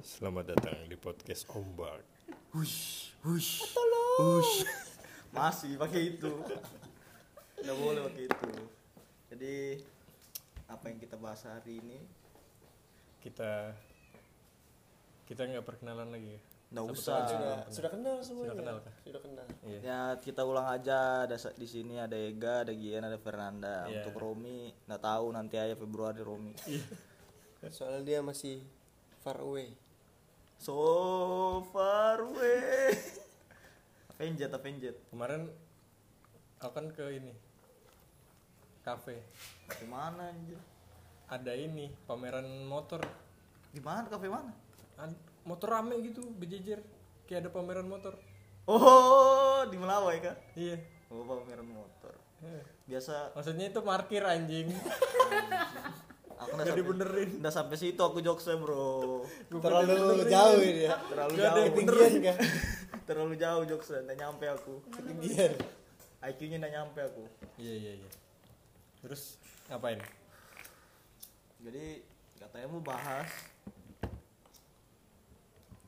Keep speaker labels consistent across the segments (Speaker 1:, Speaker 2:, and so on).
Speaker 1: Selamat datang di podcast Ombak.
Speaker 2: Hush, hush. Tolong. Hush. Masih pakai itu. Enggak boleh pakai itu. Jadi apa yang kita bahas hari ini?
Speaker 1: Kita kita nggak perkenalan lagi ya.
Speaker 2: Enggak
Speaker 1: Siapa
Speaker 2: usah.
Speaker 1: tahu
Speaker 3: sudah
Speaker 1: ada yang
Speaker 3: sudah kenal
Speaker 1: Sudah
Speaker 3: semuanya
Speaker 1: kenal kah?
Speaker 3: Sudah kenal.
Speaker 1: Iya.
Speaker 2: Ya kita ulang aja ada sa- di sini ada Ega, ada Gian, ada Fernanda.
Speaker 1: Iya.
Speaker 2: Untuk Romi nggak tahu nanti aja Februari Romi.
Speaker 3: soalnya dia masih far away
Speaker 2: So far away. ah, Avenged, Avenged.
Speaker 1: Kemarin aku kan ke ini kafe.
Speaker 2: Kafe mana anjir?
Speaker 1: Ada ini pameran motor.
Speaker 2: Di mana? Kafe mana?
Speaker 1: An- motor rame gitu, berjejer. Kayak ada pameran motor.
Speaker 2: Oh, di Melawai kah?
Speaker 1: Iya.
Speaker 2: Oh, pameran motor.
Speaker 1: Eh,
Speaker 2: Biasa
Speaker 1: Maksudnya itu markir anjing.
Speaker 2: aku udah
Speaker 1: Nggak
Speaker 2: sampai,
Speaker 1: dibenerin.
Speaker 2: udah sampai situ aku jokesnya bro
Speaker 3: terlalu jauh ini ya
Speaker 2: terlalu
Speaker 1: Nggak ada
Speaker 2: jauh
Speaker 1: yang
Speaker 3: ketinggian kan
Speaker 2: terlalu jauh jokesnya nggak nyampe aku
Speaker 3: ketinggian
Speaker 2: IQ nya nggak nyampe aku
Speaker 1: Iya iya iya. Terus ngapain?
Speaker 2: jadi katanya mau bahas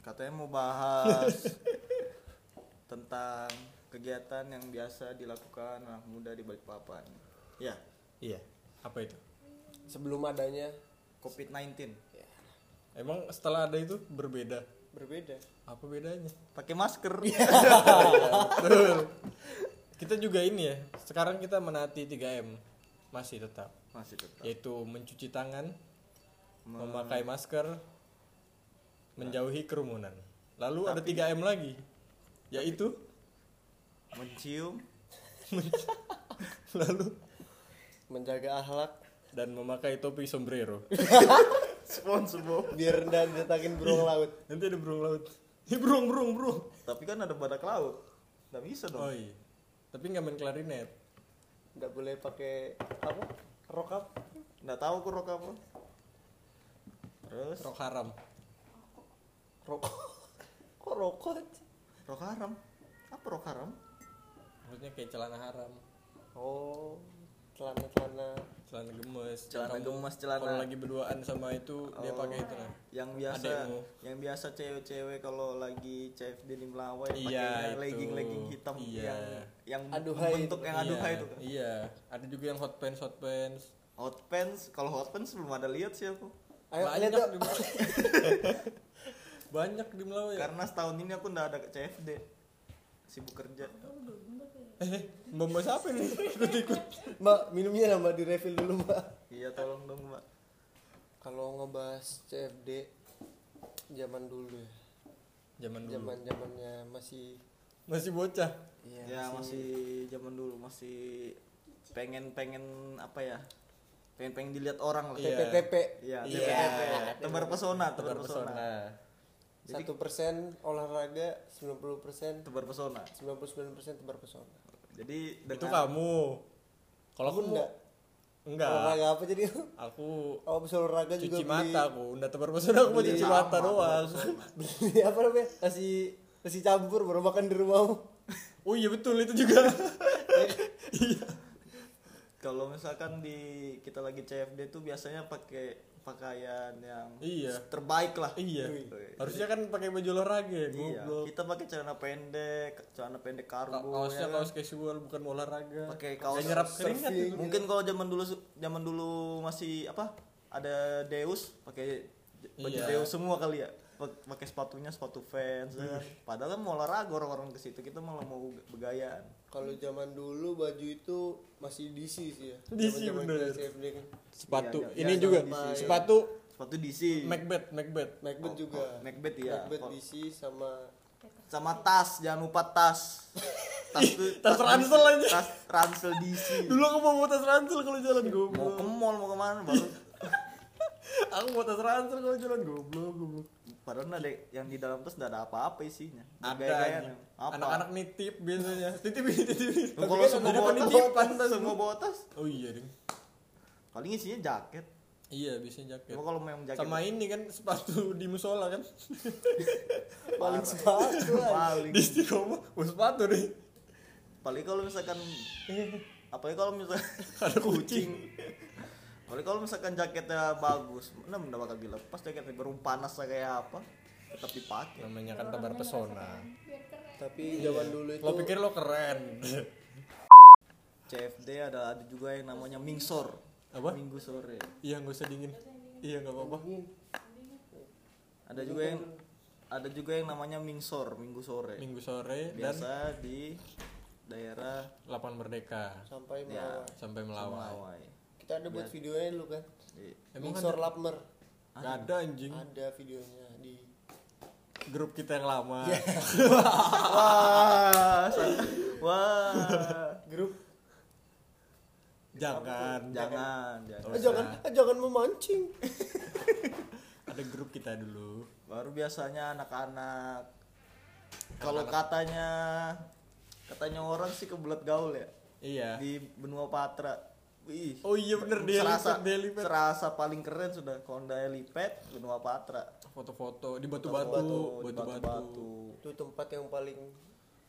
Speaker 2: katanya mau bahas tentang kegiatan yang biasa dilakukan anak muda di Balikpapan ya
Speaker 1: Iya. Apa itu?
Speaker 3: sebelum adanya
Speaker 2: COVID-19
Speaker 3: ya,
Speaker 1: Emang setelah ada itu berbeda?
Speaker 3: berbeda
Speaker 1: Apa bedanya?
Speaker 2: pakai masker
Speaker 1: Betul. kita juga ini ya. Sekarang kita menati 3M masih tetap
Speaker 2: masih tetap
Speaker 1: yaitu mencuci tangan,
Speaker 2: Me-
Speaker 1: memakai masker, menjauhi kerumunan. Lalu ada 3M lagi yaitu
Speaker 2: mencium
Speaker 1: lalu
Speaker 3: menjaga akhlak
Speaker 1: dan memakai topi sombrero.
Speaker 2: SpongeBob
Speaker 3: biar dan ditakin burung laut
Speaker 1: Nanti ada burung laut. Ih, burung burung burung.
Speaker 2: tapi kan ada badak laut nggak bisa dong
Speaker 1: Oh iya. Tapi nggak main klarinet.
Speaker 3: nggak boleh pakai apa rokap
Speaker 2: Nggak tahu aku rok apa. Terus
Speaker 1: Rok haram.
Speaker 3: rokok kok rokok
Speaker 2: rok haram. Apa rok haram?
Speaker 1: Maksudnya kayak celana haram,
Speaker 3: oh celana celana
Speaker 1: celana gemes.
Speaker 2: Celana
Speaker 1: Kamu
Speaker 2: gemes, celana- Oh.
Speaker 1: Kalau lagi berduaan sama itu dia pakai itu nah.
Speaker 2: Yang biasa
Speaker 1: Adekmu.
Speaker 2: yang biasa cewek-cewek kalau lagi CFD di Melawai
Speaker 1: Iya,
Speaker 2: pakai
Speaker 1: itu.
Speaker 2: legging-legging hitam
Speaker 1: Iya.
Speaker 2: yang yang
Speaker 3: Aduhai
Speaker 2: bentuk
Speaker 3: itu.
Speaker 2: yang
Speaker 1: Iya,
Speaker 2: aduhai itu kan.
Speaker 1: Iya, ada juga yang hot pants, hot pants.
Speaker 2: Hot pants, kalau hot pants belum ada lihat sih aku.
Speaker 3: ayo
Speaker 1: Banyak
Speaker 3: lihat dok
Speaker 1: di Banyak di Melawi. ya?
Speaker 2: Karena setahun ini aku nggak ada ke CFD. Sibuk kerja.
Speaker 1: Eh, Mbak Mbak siapa nih? Ikut-ikut.
Speaker 3: mbak minumnya lah mbak di refill dulu mbak
Speaker 2: Iya, tolong dong, Mbak.
Speaker 3: kalau ngebahas CFD zaman dulu ya
Speaker 1: Zaman dulu.
Speaker 3: zaman zamannya masih
Speaker 1: Masih bocah.
Speaker 3: iya,
Speaker 2: Ya, masih zaman dulu masih pengen-pengen apa ya? Pengen-pengen dilihat orang lah.
Speaker 1: Iya.
Speaker 3: TPTP
Speaker 2: Iya,
Speaker 1: Iya.
Speaker 2: TPTP. Tebar pesona,
Speaker 1: Tebar
Speaker 2: tebar pesona.
Speaker 1: pesona.
Speaker 2: Jadi-
Speaker 3: satu persen olahraga 90 persen
Speaker 2: Tebar pesona.
Speaker 3: 99 persen tebar pesona
Speaker 1: Itu
Speaker 2: Jadi dengan
Speaker 1: kamu. Kalau aku
Speaker 3: enggak
Speaker 1: Enggak.
Speaker 3: olahraga apa jadi
Speaker 1: Aku
Speaker 3: oh bisa olahraga juga
Speaker 1: cuci
Speaker 3: beli-
Speaker 1: mata aku. Udah tebar pesona aku mau
Speaker 3: Beli
Speaker 1: cuci
Speaker 2: sama,
Speaker 1: mata
Speaker 2: tebar
Speaker 1: doang.
Speaker 3: beli apa namanya nasi nasi campur baru makan di rumahmu
Speaker 1: Oh iya betul itu juga. Iya.
Speaker 2: kalau misalkan di kita lagi CFD tuh biasanya pakai pakaian yang
Speaker 1: Iya.
Speaker 2: terbaik lah.
Speaker 1: Iya.
Speaker 2: Wih.
Speaker 1: Harusnya kan pakai baju olahraga,
Speaker 2: Iya.
Speaker 1: goblok.
Speaker 2: Kita pakai celana pendek, celana pendek
Speaker 1: Ka-
Speaker 2: kargo.
Speaker 1: kaosnya
Speaker 2: ya kan?
Speaker 1: kaos casual bukan olahraga
Speaker 2: Pakai kaos
Speaker 1: Kayak nyerap keringat gitu.
Speaker 3: surfing.
Speaker 1: itu.
Speaker 2: Mungkin kalau zaman dulu zaman dulu masih apa? Ada Deus pakai baju
Speaker 1: Iya.
Speaker 2: Deus semua kali ya. Pa- Pakai sepatunya sepatu fans. ya kan? Padahal kan mau olahraga orang-orang ke situ kita malah mau bergayaan.
Speaker 3: kalau zaman dulu baju itu masih DC sih ya
Speaker 1: DC
Speaker 3: Zaman-zaman
Speaker 1: bener.
Speaker 3: kita CFD kan
Speaker 1: sepatu
Speaker 2: Iya, iya,
Speaker 1: ini
Speaker 2: iya,
Speaker 1: juga
Speaker 2: sama
Speaker 3: DC.
Speaker 1: sepatu
Speaker 2: Sepatu DC.
Speaker 1: Macbeth Oh, Macbeth iya. Oh.
Speaker 3: Macbeth juga
Speaker 2: Macbeth ya.
Speaker 3: Macbeth DC sama
Speaker 2: sama tas jangan lupa tas tas tuh
Speaker 1: Tas ransel aja.
Speaker 2: tas ransel DC
Speaker 1: dulu aku mau bawa tas ransel kalau jalan
Speaker 2: mau
Speaker 1: goblok
Speaker 2: ke mall mau kemana baru
Speaker 1: aku mau tas ransel kalau jalan goblok goblok
Speaker 2: padahal nggak ada yang di dalam tas nggak ada apa-apa isinya
Speaker 1: ada
Speaker 2: Gaya-gayaan
Speaker 1: anjing.
Speaker 2: yang apa
Speaker 1: anak-anak nitip biasanya titip titip
Speaker 2: Loh,
Speaker 1: Tapi
Speaker 2: kalau
Speaker 1: kan
Speaker 2: semua
Speaker 1: ada
Speaker 2: bawa tas,
Speaker 1: penitipan tas.
Speaker 2: semua bawa tas
Speaker 1: oh iya ding
Speaker 2: paling isinya jaket
Speaker 1: iya biasanya jaket
Speaker 2: Cuma kalau memang jaket
Speaker 1: sama ini kan sepatu di musola kan
Speaker 3: paling sepatu aja.
Speaker 2: paling
Speaker 1: di istiqomah oh, sepatu deh
Speaker 2: paling kalau misalkan apalagi kalau misalkan
Speaker 1: Ada kucing.
Speaker 2: paling kalau misalkan jaketnya bagus mana nggak bakal dilepas jaketnya baru panas lah kayak apa tetap dipakai
Speaker 1: namanya kan tebar pesona
Speaker 4: biar keren
Speaker 3: Tapi zaman dulu itu
Speaker 1: lo Iya. pikir lo keren
Speaker 2: CFD ada ada juga yang namanya mingsor
Speaker 1: Apa?
Speaker 2: minggu sore
Speaker 1: iya nggak usah dingin iya nggak apa-apa
Speaker 2: ada juga yang ada juga yang namanya mingsor minggu sore
Speaker 1: minggu sore dan
Speaker 2: biasa di daerah
Speaker 1: lapangan merdeka
Speaker 3: sampai
Speaker 2: Ya.
Speaker 3: melawan.
Speaker 1: sampai melawan
Speaker 2: Melawai Iya.
Speaker 3: Kita ada buat videonya dulu kan.
Speaker 2: Di-
Speaker 1: Ya. emang
Speaker 3: Mingsor
Speaker 1: ada,
Speaker 3: Lapmer.
Speaker 1: nggak ada anjing
Speaker 3: Ada videonya di
Speaker 1: grup kita yang lama
Speaker 2: wah sa- wah
Speaker 3: grup.
Speaker 1: jangan
Speaker 2: jangan
Speaker 1: Oh,
Speaker 3: Ah,
Speaker 2: jangan
Speaker 3: jangan ah, jangan memancing.
Speaker 1: ada grup kita dulu
Speaker 2: baru biasanya anak-anak kalau katanya katanya orang sih kebelet gaul ya
Speaker 1: iya
Speaker 2: di benua Patra Wih,
Speaker 1: Oh iya bener, di helipad,
Speaker 2: serasa,
Speaker 1: di helipad.
Speaker 2: serasa paling keren sudah Konda Helipad Benua Patra
Speaker 1: foto-foto di batu-batu
Speaker 2: Foto-foto di
Speaker 1: batu-batu
Speaker 3: Itu tempat yang paling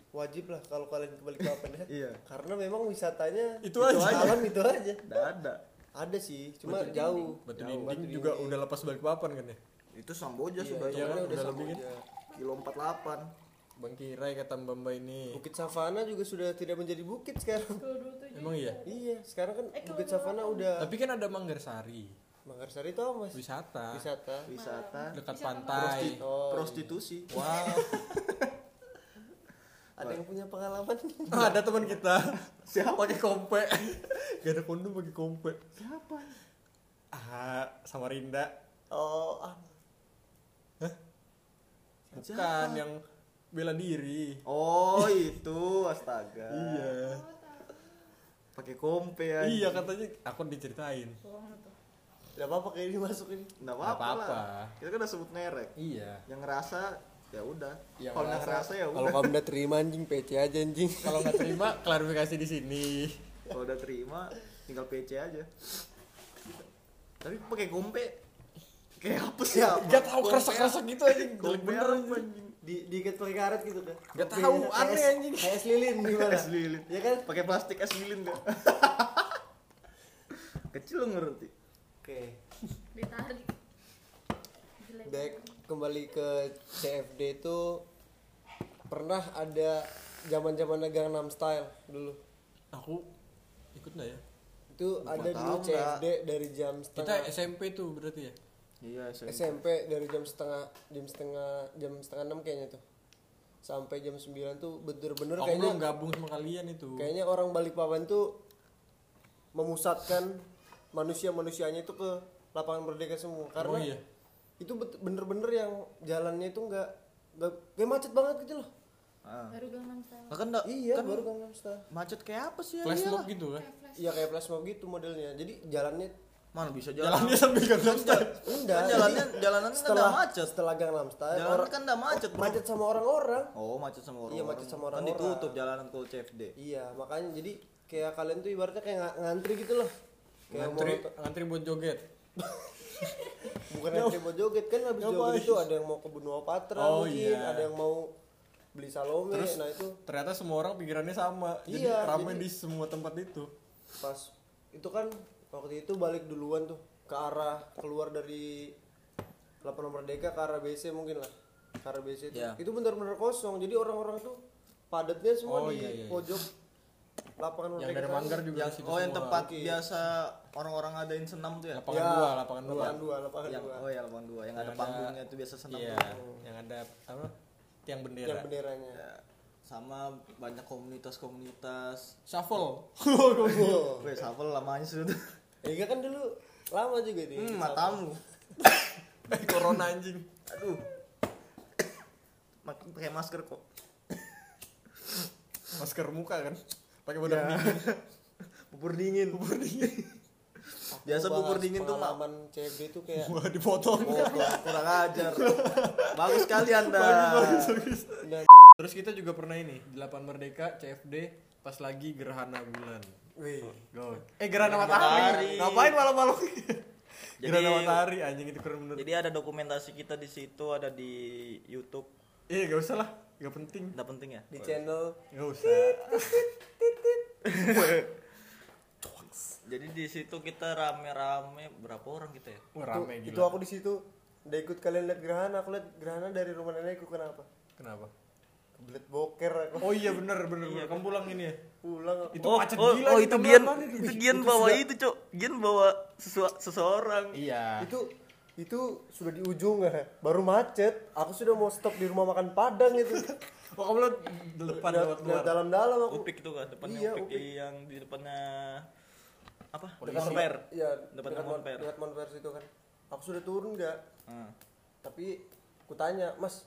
Speaker 3: wajib lah kalau kalian kembali ke Balikpapan ya.
Speaker 2: Iya.
Speaker 3: Karena memang wisatanya
Speaker 1: Itu aja.
Speaker 3: alam itu aja.
Speaker 2: Nggak ada
Speaker 3: Ada sih, cuma jauh.
Speaker 1: batu
Speaker 3: Jauh.
Speaker 1: dinding
Speaker 3: Batu
Speaker 1: juga udah lepas balik papan kan ya
Speaker 2: itu Samboja
Speaker 3: Iya,
Speaker 2: sudah
Speaker 1: iya
Speaker 3: iya,
Speaker 1: kan,
Speaker 3: udah
Speaker 1: udah
Speaker 3: sama
Speaker 1: lebih
Speaker 3: aja.
Speaker 2: kilo 48
Speaker 1: bang Kirai kata Mbamba ini
Speaker 3: Bukit Savana juga sudah tidak menjadi bukit sekarang.
Speaker 4: kalau dulu tuh
Speaker 1: emang iya
Speaker 3: Iya, sekarang kan
Speaker 4: Eh, kalau
Speaker 3: Bukit
Speaker 4: dulu
Speaker 3: Savana
Speaker 4: apa?
Speaker 3: udah
Speaker 1: tapi kan ada Manggarsari
Speaker 3: Manggarsari itu apa mas?
Speaker 1: wisata
Speaker 3: Wisata.
Speaker 2: wisata
Speaker 1: dekat
Speaker 4: Wisata
Speaker 1: pantai
Speaker 2: prosti-
Speaker 3: Oh, iya.
Speaker 2: prostitusi
Speaker 1: wow
Speaker 3: Ada yang punya pengalaman?
Speaker 1: Ah, ada teman kita
Speaker 2: Siapa?
Speaker 1: pakai kompe gak ada kondom pakai kompe siapa ah Samarinda
Speaker 3: oh, ah,
Speaker 1: bukan
Speaker 2: Siapa?
Speaker 1: yang bela diri
Speaker 2: oh itu astaga
Speaker 1: iya
Speaker 2: pakai kompe ya
Speaker 1: iya katanya aku diceritain
Speaker 4: bohong tuh
Speaker 3: tidak apa-apa kayak ini masuk ini.
Speaker 2: nggak apa-apa,
Speaker 1: Nggak apa-apa.
Speaker 2: lah kita kan udah sebut merek
Speaker 1: iya
Speaker 2: yang ngerasa ya udah kalau nggak ngerasa ya
Speaker 3: Kalau
Speaker 2: udah
Speaker 3: kamu udah terima anjing PC aja anjing.
Speaker 1: kalau nggak terima klarifikasi di sini
Speaker 2: kalau udah terima tinggal PC aja tapi pakai kompe kayak apa sih apa?
Speaker 1: gak Iya, tahu kerasa kerasa gitu aja
Speaker 2: kompe
Speaker 1: jelek bener
Speaker 2: apa,
Speaker 1: anjing.
Speaker 2: anjing?
Speaker 3: Di diikat pakai karet gitu kan.
Speaker 1: Nggak tahu, aneh, anjing.
Speaker 3: Kayak es lilin gimana?
Speaker 2: es lilin
Speaker 3: Ya kan?
Speaker 2: pakai plastik es lilin gak kecil lo ngerti
Speaker 3: Oke.
Speaker 4: ditarik jelek
Speaker 3: Back kembali ke CFD itu pernah ada zaman-zaman Gangnam Style dulu.
Speaker 1: aku ikut nggak ya
Speaker 3: Itu
Speaker 2: Nggak
Speaker 3: ada dulu
Speaker 2: tahu,
Speaker 3: CFD dari jam
Speaker 1: kita
Speaker 3: setengah
Speaker 1: SMP tuh berarti ya
Speaker 2: iya SMP
Speaker 3: SMP dari jam setengah jam setengah jam setengah enam kayaknya tuh sampai jam sembilan tuh bener-bener
Speaker 1: aku
Speaker 3: kayaknya
Speaker 1: belum gabung sama kalian itu
Speaker 3: kayaknya orang Balikpapan tuh memusatkan manusia-manusianya itu ke lapangan merdeka semua karena
Speaker 1: Oh iya.
Speaker 3: itu bet- bener-bener yang jalannya itu nggak nggak kayak macet banget gitu loh
Speaker 2: Ah.
Speaker 4: baru Gangnam Style
Speaker 2: Nah, kan nggak-
Speaker 3: iya
Speaker 2: kan
Speaker 3: baru Gangnam Style
Speaker 2: macet kayak apa sih ya
Speaker 1: flash mob
Speaker 2: iyalah.
Speaker 1: gitu kan
Speaker 3: iya kayak flash mob gitu modelnya jadi jalannya
Speaker 2: mana bisa jalan
Speaker 1: jalannya sambil Gangnam Style
Speaker 3: enggak
Speaker 2: Kan
Speaker 3: jadi
Speaker 2: jalannya jalanan kan
Speaker 3: setelah
Speaker 2: nggak macet
Speaker 3: setelah Gangnam Style
Speaker 2: jalanan
Speaker 3: orang-
Speaker 2: kan nggak macet bro
Speaker 3: macet sama orang-orang
Speaker 2: oh macet sama orang
Speaker 3: Iya, macet sama
Speaker 2: kan
Speaker 3: orang-orang.
Speaker 2: ditutup jalanan kalau CFD
Speaker 3: Iya, makanya jadi kayak kalian tuh ibaratnya kayak nga- ngantri gitu loh. Kayak
Speaker 1: ngantri
Speaker 3: mau
Speaker 1: ngantri buat joget
Speaker 3: bukan ngantri mau joget kan habis joget itu ada yang mau ke Benua Patra
Speaker 1: Oh,
Speaker 3: mungkin,
Speaker 1: iya.
Speaker 3: ada yang mau beli Salome. nah itu
Speaker 1: ternyata semua orang pikirannya sama jadi
Speaker 3: Iya,
Speaker 1: ramai
Speaker 3: jadi-
Speaker 1: di semua tempat itu
Speaker 3: pas itu kan waktu itu balik duluan tuh ke arah keluar dari lapangan Merdeka ke arah BC mungkin lah. Ke arah BC itu.
Speaker 2: Iya.
Speaker 3: Itu benar-benar kosong. Jadi orang-orang tuh padatnya
Speaker 1: Oh,
Speaker 3: semua di
Speaker 1: iya, iya, iya.
Speaker 3: pojok lapangan
Speaker 1: yang dari
Speaker 3: Merdeka.
Speaker 1: Manggar juga
Speaker 2: yang
Speaker 1: di situ
Speaker 2: oh yang
Speaker 1: semua.
Speaker 2: tempat
Speaker 3: Iya.
Speaker 2: biasa orang-orang ngadain senam tuh ya
Speaker 1: lapangan dua lapangan dua
Speaker 3: Lapangan dua, Iya, lapangan
Speaker 2: yang
Speaker 3: dua.
Speaker 2: oh ya lapangan dua yang,
Speaker 1: Yang
Speaker 2: ada
Speaker 1: ada-
Speaker 2: panggungnya itu biasa senam
Speaker 1: iya
Speaker 2: tuh
Speaker 1: yang ada apa tiang
Speaker 3: Yang
Speaker 1: bendera
Speaker 3: benderanya.
Speaker 2: Ya, sama banyak komunitas-komunitas
Speaker 1: shuffle
Speaker 3: Oh.
Speaker 2: wes hafal lamanya sudah
Speaker 3: Ega kan dulu lama juga nih.
Speaker 2: hmm,
Speaker 3: Sama.
Speaker 2: matamu
Speaker 1: Eh, corona anjing
Speaker 2: aduh Mak- pakai masker kok
Speaker 1: masker muka kan pakai bedak dingin
Speaker 2: Iya. bubur dingin bubur dingin biasa
Speaker 3: Mau
Speaker 2: bubur
Speaker 3: bahas
Speaker 2: dingin tuh mak
Speaker 3: pengalaman CFD itu kayak
Speaker 1: wah dipotong
Speaker 2: kurang ajar bagus sekali anda Iya.
Speaker 3: dan
Speaker 1: terus kita juga pernah ini di lapangan merdeka CFD pas lagi gerhana bulan
Speaker 3: wih
Speaker 1: Go. eh gerhana matahari
Speaker 2: matahari.
Speaker 1: ngapain malam-malam gerhana
Speaker 2: Jadi-
Speaker 1: matahari anjing itu keren bener
Speaker 2: jadi ada dokumentasi kita di situ ada di YouTube
Speaker 1: eh gak usah lah gak penting
Speaker 2: nggak penting ya
Speaker 3: di channel
Speaker 1: gak usah
Speaker 2: jadi di situ kita rame-rame berapa orang kita ya
Speaker 1: Wah, rame
Speaker 3: tuh,
Speaker 1: gila.
Speaker 3: itu aku di situ Udah ikut kalian lihat gerhana, aku lihat gerhana dari rumah nenekku kenapa?
Speaker 1: Kenapa?
Speaker 3: Kebelet boker aku.
Speaker 1: Oh iya bener bener. bener. Kamu pulang ini ya?
Speaker 3: Pulang aku.
Speaker 1: Itu macet
Speaker 2: oh,
Speaker 1: gila gitu
Speaker 2: oh,
Speaker 1: di
Speaker 2: itu
Speaker 1: tengah
Speaker 2: Gian,
Speaker 1: lapangan
Speaker 2: itu
Speaker 1: Wih,
Speaker 2: Gian bawa
Speaker 1: sudah-
Speaker 2: itu, Cok. Gian bawa sesua- seseorang.
Speaker 1: Iya.
Speaker 3: Itu itu sudah di ujung ya, baru macet. Aku sudah mau stop di rumah makan Padang itu.
Speaker 1: Oh kamu lewat depan
Speaker 3: Udah-
Speaker 1: lewat
Speaker 3: udah
Speaker 1: luar.
Speaker 3: Dalam-dalam aku.
Speaker 2: Upik itu kan depannya
Speaker 3: Iya,
Speaker 2: Upik,
Speaker 3: Upik.
Speaker 2: yang di depannya apa?
Speaker 3: Dekat
Speaker 2: Monper.
Speaker 3: Mon- Iya,
Speaker 2: Depan
Speaker 3: dekat Mon-
Speaker 2: Monper.
Speaker 3: Dekat Monper situ kan. Aku sudah turun nggak?
Speaker 2: Nah.
Speaker 3: Tapi ku tanya, "Mas,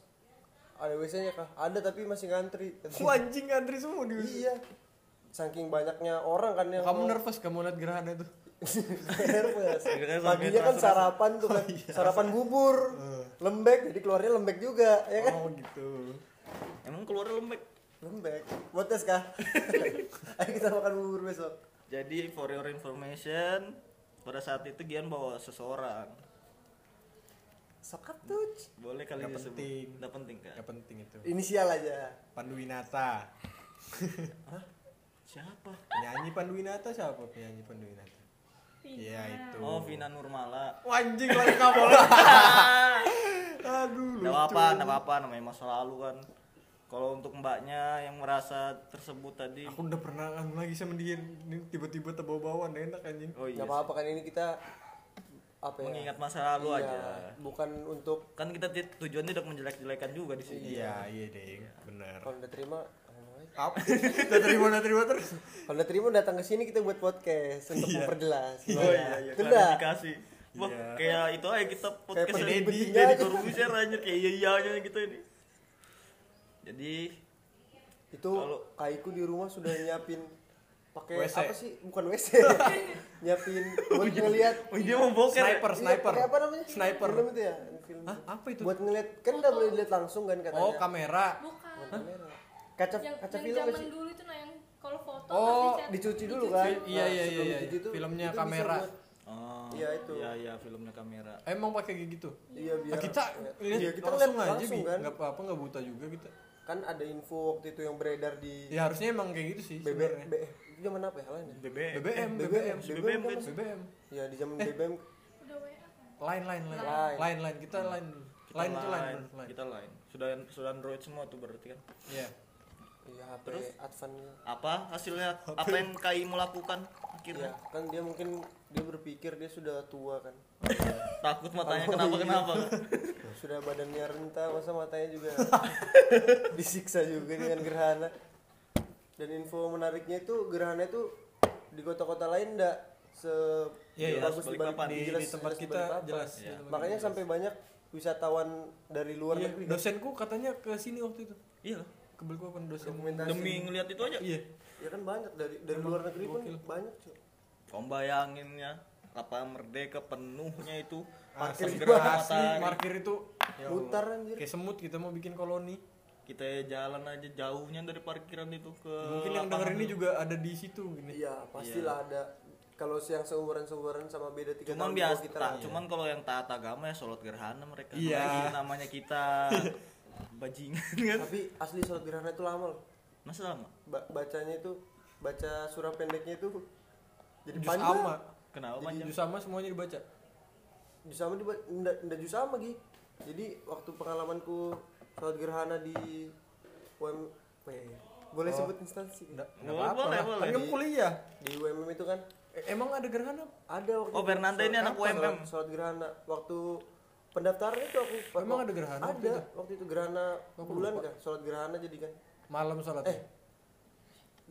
Speaker 3: ada WC-nya kah?" Ada tapi masih ngantri.
Speaker 1: Wah, anjing antri semua di
Speaker 3: iya. Saking banyaknya orang kan yang
Speaker 1: Kamu
Speaker 3: mau-
Speaker 1: nervous kamu lihat gerhana itu.
Speaker 3: nervous.
Speaker 2: Akhirnya sampai
Speaker 3: Paginya kan
Speaker 2: terasa-rasa.
Speaker 3: sarapan tuh
Speaker 2: Oh,
Speaker 3: kan.
Speaker 2: iya.
Speaker 3: Sarapan bubur.
Speaker 2: Eh.
Speaker 3: Lembek, jadi keluarnya lembek juga, ya kan?
Speaker 1: Oh gitu.
Speaker 2: Emang keluar lembek.
Speaker 3: Lembek. Buat tes kah? Ayo kita makan bubur besok.
Speaker 2: Jadi for your information, pada saat itu Gian bawa seseorang.
Speaker 3: Sokap tuh.
Speaker 2: Boleh kali
Speaker 1: Nggak
Speaker 2: disebut.
Speaker 1: penting.
Speaker 2: Nggak penting kan?
Speaker 1: Gak penting itu.
Speaker 3: Inisial aja.
Speaker 1: Panduwinata.
Speaker 2: Siapa?
Speaker 1: Penyanyi Panduwinata siapa penyanyi Panduwinata? Iya itu.
Speaker 2: Oh, Vina Nurmala.
Speaker 1: Wah, anjing lengkap banget. Aduh.
Speaker 2: Nggak apa-apa, nggak apa-apa namanya masa lalu kan. Kalau untuk mbaknya yang merasa tersebut tadi.
Speaker 1: Aku udah pernah nganu lagi sama dia. Ini tiba-tiba terbawa-bawa nggak enak anjing.
Speaker 2: Oh iya.
Speaker 3: Gak apa-apa kan ini kita apa ya?
Speaker 2: Mengingat masa lalu
Speaker 3: Iya,
Speaker 2: aja.
Speaker 3: Bukan untuk
Speaker 2: Kan kita ti- tujuannya tidak menjelek-jelekan juga di sini.
Speaker 1: Iya, iya deh. Bener.
Speaker 3: kalau udah terima ngomong aja.
Speaker 1: Apa? Udah terima, udah terima terus.
Speaker 3: kalau udah terima datang ke sini kita buat podcast untuk memperjelas.
Speaker 2: Oh iya, iya.
Speaker 3: Sudah.
Speaker 2: Klarifikasi. Wah,
Speaker 1: Iya.
Speaker 2: kayak itu aja kita podcast
Speaker 3: penting
Speaker 2: ini
Speaker 3: penting
Speaker 2: jadi
Speaker 3: aja.
Speaker 2: korupsiar anjir kayak iya iya aja gitu ini. Jadi
Speaker 3: Itu
Speaker 2: Kalau-
Speaker 3: Kaiku di rumah sudah nyiapin pakai
Speaker 1: WC.
Speaker 3: apa sih? Bukan WC. nyiapin buat ngelihat
Speaker 2: oh, dia mau
Speaker 1: Sniper,
Speaker 2: boker. ya?
Speaker 3: Iya,
Speaker 1: Gitu. sniper.
Speaker 3: pakai apa namanya?
Speaker 1: Sniper.
Speaker 3: Film itu ya, film.
Speaker 1: Hah, apa itu?
Speaker 3: Buat ngelihat kan enggak boleh dilihat langsung kan katanya.
Speaker 1: Oh, kamera.
Speaker 4: Bukan.
Speaker 3: kamera. Kaca
Speaker 4: Yang,
Speaker 3: kaca
Speaker 4: yang
Speaker 3: film
Speaker 4: zaman
Speaker 3: nggak sih?
Speaker 4: dulu itu nah yang kalau foto
Speaker 1: Oh,
Speaker 4: cat-
Speaker 3: dicuci dulu kan?
Speaker 4: dulu.
Speaker 1: Iya, iya, iya,
Speaker 3: sebelum
Speaker 1: iya.
Speaker 3: dicuci tuh,
Speaker 1: Filmnya
Speaker 3: itu bisa
Speaker 1: kamera.
Speaker 3: buat-
Speaker 2: Oh.
Speaker 3: Iya, itu.
Speaker 2: Iya iya filmnya kamera.
Speaker 1: Emang pakai kayak gitu?
Speaker 3: Iya biar.
Speaker 1: Ah, kita lihat
Speaker 3: iya, kita
Speaker 1: langsung,
Speaker 3: ngeliat
Speaker 1: aja
Speaker 3: langsung
Speaker 1: gitu.
Speaker 3: kan.
Speaker 1: Nggak apa-apa nggak buta juga kita.
Speaker 3: Kan ada info waktu itu yang beredar di
Speaker 1: Ya harusnya emang kayak gitu sih.
Speaker 3: BBM.
Speaker 1: sebenarnya.
Speaker 3: BBM. Itu zaman apa ya lain? ya?
Speaker 2: BBM.
Speaker 1: BBM, BBM,
Speaker 3: BBM,
Speaker 1: BBM,
Speaker 2: kan?
Speaker 1: BBM.
Speaker 3: Ya di
Speaker 1: Eh.
Speaker 3: zaman BBM
Speaker 4: Udah kan? WA.
Speaker 1: Lain, lain, lain,
Speaker 3: Line.
Speaker 1: lain, lain. Kita
Speaker 3: Hmm.
Speaker 1: lain,
Speaker 2: Kita
Speaker 1: lain itu lain,
Speaker 2: line,
Speaker 1: lain.
Speaker 3: Gitu.
Speaker 2: Kita lain. Sudah sudah Android semua tuh berarti kan.
Speaker 1: Iya.
Speaker 3: Iya HP
Speaker 2: Terus?
Speaker 3: Advan
Speaker 2: Apa hasilnya? Apa yang KI mau lakukan
Speaker 3: Iya,
Speaker 2: akhirnya?
Speaker 3: kan dia mungkin dia berpikir dia sudah tua kan.
Speaker 2: Takut matanya
Speaker 1: iya.
Speaker 2: kenapa-kenapa.
Speaker 3: Sudah badannya renta, masa matanya juga disiksa juga dengan gerhana. Dan info menariknya itu gerhana itu di kota-kota lain enggak se
Speaker 1: Iya, iya,
Speaker 3: bagus
Speaker 2: di
Speaker 3: Balikpapan.
Speaker 2: Balikpapan.
Speaker 1: Di,
Speaker 3: Jelas-
Speaker 1: di tempat
Speaker 3: jelas
Speaker 1: kita
Speaker 3: Balikpapan.
Speaker 1: jelas.
Speaker 2: Iya.
Speaker 1: Di tempat
Speaker 3: Makanya
Speaker 1: kita.
Speaker 3: sampai banyak wisatawan dari luar
Speaker 1: Iya,
Speaker 3: negeri kan?
Speaker 1: dosenku katanya ke sini waktu itu.
Speaker 2: Iya lah.
Speaker 1: Kebelkuapan dosen.
Speaker 3: Dokumentasi.
Speaker 2: Demi ngelihat itu aja.
Speaker 1: Iya.
Speaker 3: Ya kan banyak dari dari luar negeri pun
Speaker 1: gokil. Ya
Speaker 3: banyak cuy.
Speaker 2: Kamu bayanginnya lapangan ya, merdeka penuhnya itu
Speaker 1: Parkir
Speaker 2: asap
Speaker 1: itu
Speaker 2: gerak
Speaker 1: asli,
Speaker 2: matahari.
Speaker 1: parkir itu Ya Allah.
Speaker 3: Mutar anjir.
Speaker 1: kayak semut kita mau bikin koloni.
Speaker 2: Kita jalan aja jauhnya dari parkiran itu ke
Speaker 1: Mungkin yang denger ini juga ada di situ gini.
Speaker 3: Iya, pastilah ada. Kalau siang seumuran-seumuran sama beda tiga
Speaker 2: cuman
Speaker 3: tahun di bawah
Speaker 2: biasa
Speaker 3: kita lah.
Speaker 1: ya.
Speaker 2: cuman kalau yang taat agama ya sholat gerhana mereka
Speaker 1: Iya.
Speaker 2: Apalagi namanya kita bajingan kan
Speaker 3: Tapi asli sholat gerhana itu lama loh.
Speaker 2: masa lama
Speaker 3: Ba- bacanya itu baca surah pendeknya itu jadi
Speaker 1: Jus
Speaker 3: panjang.
Speaker 1: ama.
Speaker 2: kenapa
Speaker 1: Jadi
Speaker 2: Oh, panjang
Speaker 1: jus ama semuanya dibaca.
Speaker 3: Jus sama diba- nda- nda jus sama Gi. Jadi waktu pengalamanku sholat gerhana di UM eh, boleh
Speaker 1: Oh.
Speaker 3: sebut instansi
Speaker 1: Enggak,
Speaker 2: Boleh, boleh, boleh.
Speaker 1: Kan kamu kuliah.
Speaker 3: di UMM itu kan
Speaker 1: E- Emang ada gerhana?
Speaker 3: ada waktu
Speaker 2: Oh,
Speaker 3: itu
Speaker 2: Fernanda ini
Speaker 3: sholat- kan,
Speaker 2: anak
Speaker 3: sholat-
Speaker 2: UMM.
Speaker 3: sholat gerhana waktu pendaftaran itu aku
Speaker 1: Emang ada gerhana
Speaker 3: ada
Speaker 1: waktu
Speaker 3: waktu
Speaker 1: itu?
Speaker 3: itu, gerhana
Speaker 1: Aku
Speaker 3: bulan
Speaker 1: lupa.
Speaker 3: kan sholat gerhana jadi kan
Speaker 1: Malam salat. ya?
Speaker 3: eh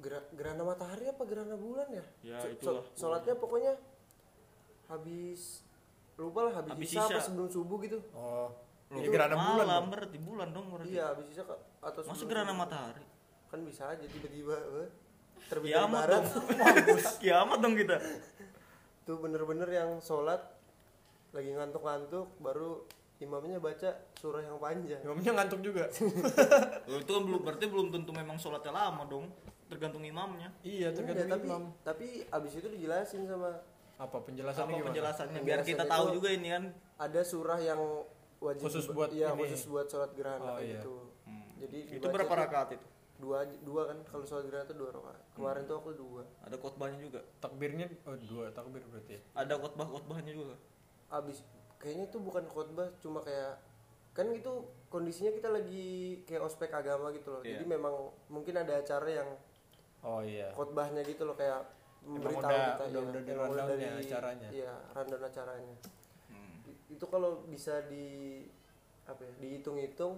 Speaker 3: gera- gerhana matahari apa gerhana bulan ya
Speaker 2: Ya,
Speaker 3: So-
Speaker 2: itulah.
Speaker 3: so- sholatnya pokoknya habis lupa lah habis,
Speaker 2: Habis
Speaker 3: isya apa
Speaker 2: isya.
Speaker 3: sebelum subuh gitu
Speaker 1: Oh.
Speaker 2: Loh,
Speaker 1: Ya gerhana bulan.
Speaker 2: malam
Speaker 1: dong.
Speaker 2: berarti bulan dong berarti
Speaker 3: iya habis isya ka- atau
Speaker 2: masa
Speaker 3: sebelum
Speaker 2: gerhana
Speaker 3: subuh.
Speaker 2: matahari
Speaker 3: kan bisa aja tiba-tiba eh, terbit dari
Speaker 2: kiamat
Speaker 3: barat
Speaker 2: Ya, dong mampus kiamat dong kita
Speaker 3: tuh bener-bener yang sholat lagi ngantuk-ngantuk baru imamnya baca surah yang panjang
Speaker 1: Imamnya ngantuk juga.
Speaker 2: Loh, itu kan belum berarti belum tentu memang sholatnya lama dong tergantung imamnya
Speaker 1: iya, tergantung
Speaker 3: Iya, tapi,
Speaker 1: imam.
Speaker 3: tapi abis itu dijelasin sama
Speaker 1: Apa penjelasannya
Speaker 2: apa
Speaker 1: gimana?
Speaker 2: penjelasannya biar
Speaker 3: Penjelasan
Speaker 2: kita
Speaker 3: itu-
Speaker 2: tahu juga ini kan
Speaker 3: ada surah yang wajib
Speaker 1: Khusus
Speaker 3: diba-
Speaker 1: buat
Speaker 3: iya,
Speaker 1: ini.
Speaker 3: khusus buat sholat gerhana
Speaker 1: Oh,
Speaker 3: kayak
Speaker 1: iya.
Speaker 3: gitu. Jadi
Speaker 2: itu
Speaker 3: dibaca
Speaker 2: berapa
Speaker 3: tuh
Speaker 2: rakaat itu
Speaker 3: Dua aja- dua kan kalau sholat gerhana tuh dua rakaat. Kemarin tuh aku dua.
Speaker 2: ada khotbahnya juga
Speaker 1: Takbirnya oh, dua takbir berarti. ya?
Speaker 2: ada khotbah khotbahnya juga
Speaker 3: Abis kayaknya itu bukan khotbah cuma kayak kan gitu kondisinya kita lagi kayak ospek agama gitu loh
Speaker 2: Iya.
Speaker 3: jadi memang mungkin ada acara yang
Speaker 1: oh iya
Speaker 3: khotbahnya gitu loh kayak memberitahu
Speaker 1: udah-
Speaker 3: kita
Speaker 1: udah-
Speaker 3: iya,
Speaker 1: udah di
Speaker 3: emang udah
Speaker 1: rundown-nya
Speaker 3: di-
Speaker 1: acaranya.
Speaker 3: iya rundown acaranya
Speaker 2: Hmm.
Speaker 3: I- itu kalau bisa di apa ya dihitung-hitung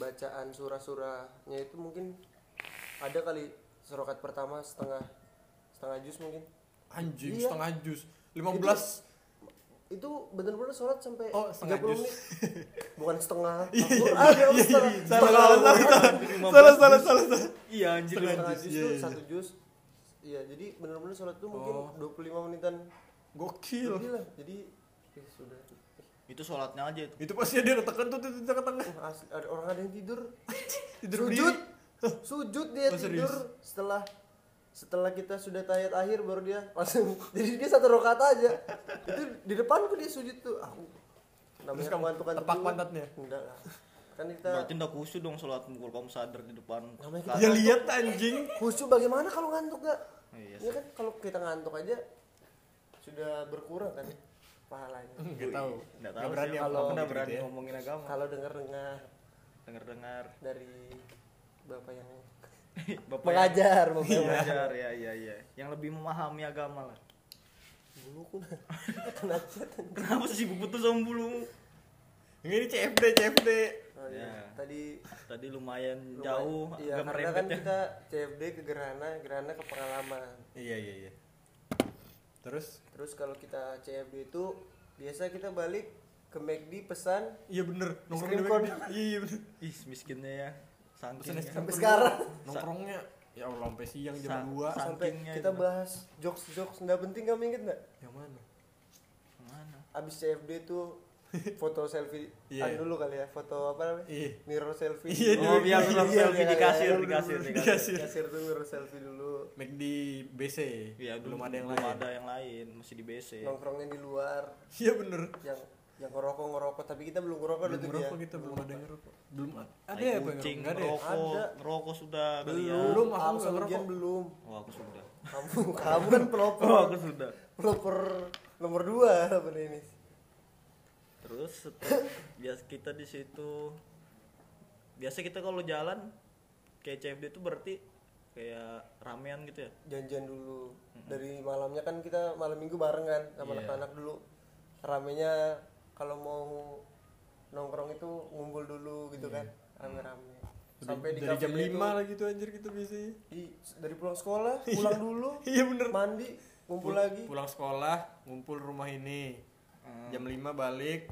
Speaker 3: bacaan surah-surahnya itu mungkin ada kali serokat pertama setengah setengah juz mungkin
Speaker 1: anjing
Speaker 3: Iya.
Speaker 1: setengah jus 15
Speaker 3: itu benar-benar sholat sampai
Speaker 1: Oh, setengah juz.
Speaker 3: 30 menit bukan setengah
Speaker 1: Iya, iya,
Speaker 3: Al-Qur'an ya,
Speaker 1: iya,
Speaker 3: setengah
Speaker 1: iya,
Speaker 3: setengah
Speaker 1: salah,
Speaker 3: Al-Qur'an.
Speaker 1: salah salah salah salah
Speaker 2: Iya anjir
Speaker 1: Setengah
Speaker 3: setengah
Speaker 1: juz,
Speaker 3: juz
Speaker 1: iya,
Speaker 3: tuh
Speaker 1: iya.
Speaker 3: satu juz iya jadi benar-benar sholat tuh mungkin
Speaker 1: Oh. Iya.
Speaker 3: 25 menitan
Speaker 1: gokil
Speaker 3: lebih lah jadi eh, sudah
Speaker 2: Itu sholatnya aja itu.
Speaker 1: itu pasti dia tekan tuh tuh tuh ke tengah
Speaker 3: Wah, asli, Oh, ada orang ada yang tidur
Speaker 1: tidur
Speaker 3: sujud
Speaker 1: berdiri.
Speaker 3: sujud dia
Speaker 1: Oh, serius?
Speaker 3: tidur setelah setelah kita sudah tayat akhir baru dia langsung jadi dia satu rokat aja itu di depanku dia sujud tuh aku
Speaker 1: Terus kamu
Speaker 3: kemantukan
Speaker 1: tepak
Speaker 3: tebu.
Speaker 1: pantatnya?
Speaker 3: enggak lah kan kita
Speaker 2: Berarti udah khusyuk dong sholat mukul kamu sadar di depan.
Speaker 3: Namanya
Speaker 2: Kan-
Speaker 1: ya lihat anjing
Speaker 3: khusyuk bagaimana kalau ngantuk gak
Speaker 2: Iya
Speaker 3: ya kan kalau kita ngantuk aja sudah berkurang kan pahalanya
Speaker 1: nggak tahu Nggak
Speaker 2: Enggak tahu
Speaker 1: berani
Speaker 2: berani
Speaker 1: aku
Speaker 2: kalau
Speaker 1: ngomong
Speaker 2: enggak
Speaker 1: gitu
Speaker 2: berani
Speaker 1: ya.
Speaker 2: ngomongin agama.
Speaker 3: kalau dengar dengar
Speaker 2: Dengar-dengar
Speaker 3: dari bapak yang
Speaker 2: Bapak
Speaker 3: mengajar bapak
Speaker 2: yang
Speaker 3: yang
Speaker 2: mengajar ya iya iya. Yang lebih memahami agama lah.
Speaker 3: buluku kena cat
Speaker 2: Kenapa sih bubut tuh sama bulu?
Speaker 1: ini CFD CFD
Speaker 3: Oh, iya.
Speaker 2: Ya.
Speaker 3: tadi
Speaker 2: Tadi lumayan
Speaker 3: lumayan-
Speaker 2: jauh
Speaker 3: iya,
Speaker 2: agak
Speaker 3: karena kan
Speaker 2: merembet ya.
Speaker 3: kita CFD ke Gerhana Gerhana ke pengalaman
Speaker 1: iya iya iya terus
Speaker 3: terus kalau kita CFD itu biasa kita balik ke McD pesan
Speaker 1: iya bener nongkrong di
Speaker 3: Screen
Speaker 1: back- iya iya bener
Speaker 2: Ih, miskinnya ya. Saking
Speaker 1: Pesan es krim
Speaker 2: ya.
Speaker 3: sampai
Speaker 1: kedua.
Speaker 3: sekarang.
Speaker 1: nongkrongnya ya Allah sampai siang
Speaker 2: Sa-
Speaker 1: jam 2
Speaker 2: sa-
Speaker 3: sampai
Speaker 2: Sampingnya
Speaker 3: kita
Speaker 2: itu.
Speaker 3: bahas jokes jokes nggak penting kamu inget nggak
Speaker 1: yang mana
Speaker 2: Mana?
Speaker 3: abis CFD itu foto selfie
Speaker 1: Iya.
Speaker 3: an dulu kali ya foto apa namanya
Speaker 1: Iya.
Speaker 3: mirror selfie
Speaker 1: Iya,
Speaker 3: dulu.
Speaker 1: dulu.
Speaker 2: Oh, biar
Speaker 3: Iya,
Speaker 2: lu
Speaker 3: iya,
Speaker 2: selfie
Speaker 3: iya,
Speaker 2: di kasir,
Speaker 3: iya,
Speaker 2: di kasir, di
Speaker 3: bener-bener.
Speaker 1: Di
Speaker 2: kasir.
Speaker 1: kasir.
Speaker 3: kasir tuh mirror selfie dulu
Speaker 1: make di BC
Speaker 2: Iya,
Speaker 1: belum ada yang
Speaker 2: belum
Speaker 1: lain
Speaker 2: ada yang lain, masih di BC.
Speaker 3: nongkrongnya di luar
Speaker 1: iya bener
Speaker 3: yang yang ngerokok ngerokok tapi kita belum ngerokok
Speaker 1: belum
Speaker 3: dulu tuh
Speaker 1: ngerokok gitu.
Speaker 3: dia.
Speaker 1: kita belum ada yang ngerokok belum a- ada
Speaker 2: Tai
Speaker 1: ya apa yang
Speaker 2: kucing,
Speaker 1: ngerokok? Nggak ada ya?
Speaker 2: ngerokok,
Speaker 3: Ada.
Speaker 2: ngerokok sudah kali ya.
Speaker 1: Belum. aku
Speaker 3: Aku
Speaker 1: nggak
Speaker 3: sama
Speaker 1: ngerokok.
Speaker 3: Gian Iya. belum
Speaker 2: Oh, aku sudah.
Speaker 3: kamu kamu kan pelopor
Speaker 2: Oh, aku sudah.
Speaker 3: pelopor nomor dua apa ini
Speaker 2: Terus setelah biasa kita di situ biasa kita kalau jalan kayak CFD itu berarti kayak ramean gitu ya.
Speaker 3: janjian dulu dari malamnya kan kita malam minggu bareng kan sama
Speaker 2: Iya.
Speaker 3: anak-anak dulu ramenya kalau mau nongkrong itu ngumpul dulu gitu kan rame-rame
Speaker 1: Iya. Dari-
Speaker 3: sampai di
Speaker 1: dari
Speaker 3: kafe
Speaker 1: jam
Speaker 3: itu,
Speaker 1: 5 lagi tuh anjir kita biasanya
Speaker 3: di- dari pulang sekolah pulang dulu
Speaker 1: iya bener
Speaker 3: mandi ngumpul lagi
Speaker 1: pulang sekolah ngumpul rumah ini
Speaker 2: Hmm.
Speaker 1: jam 5 balik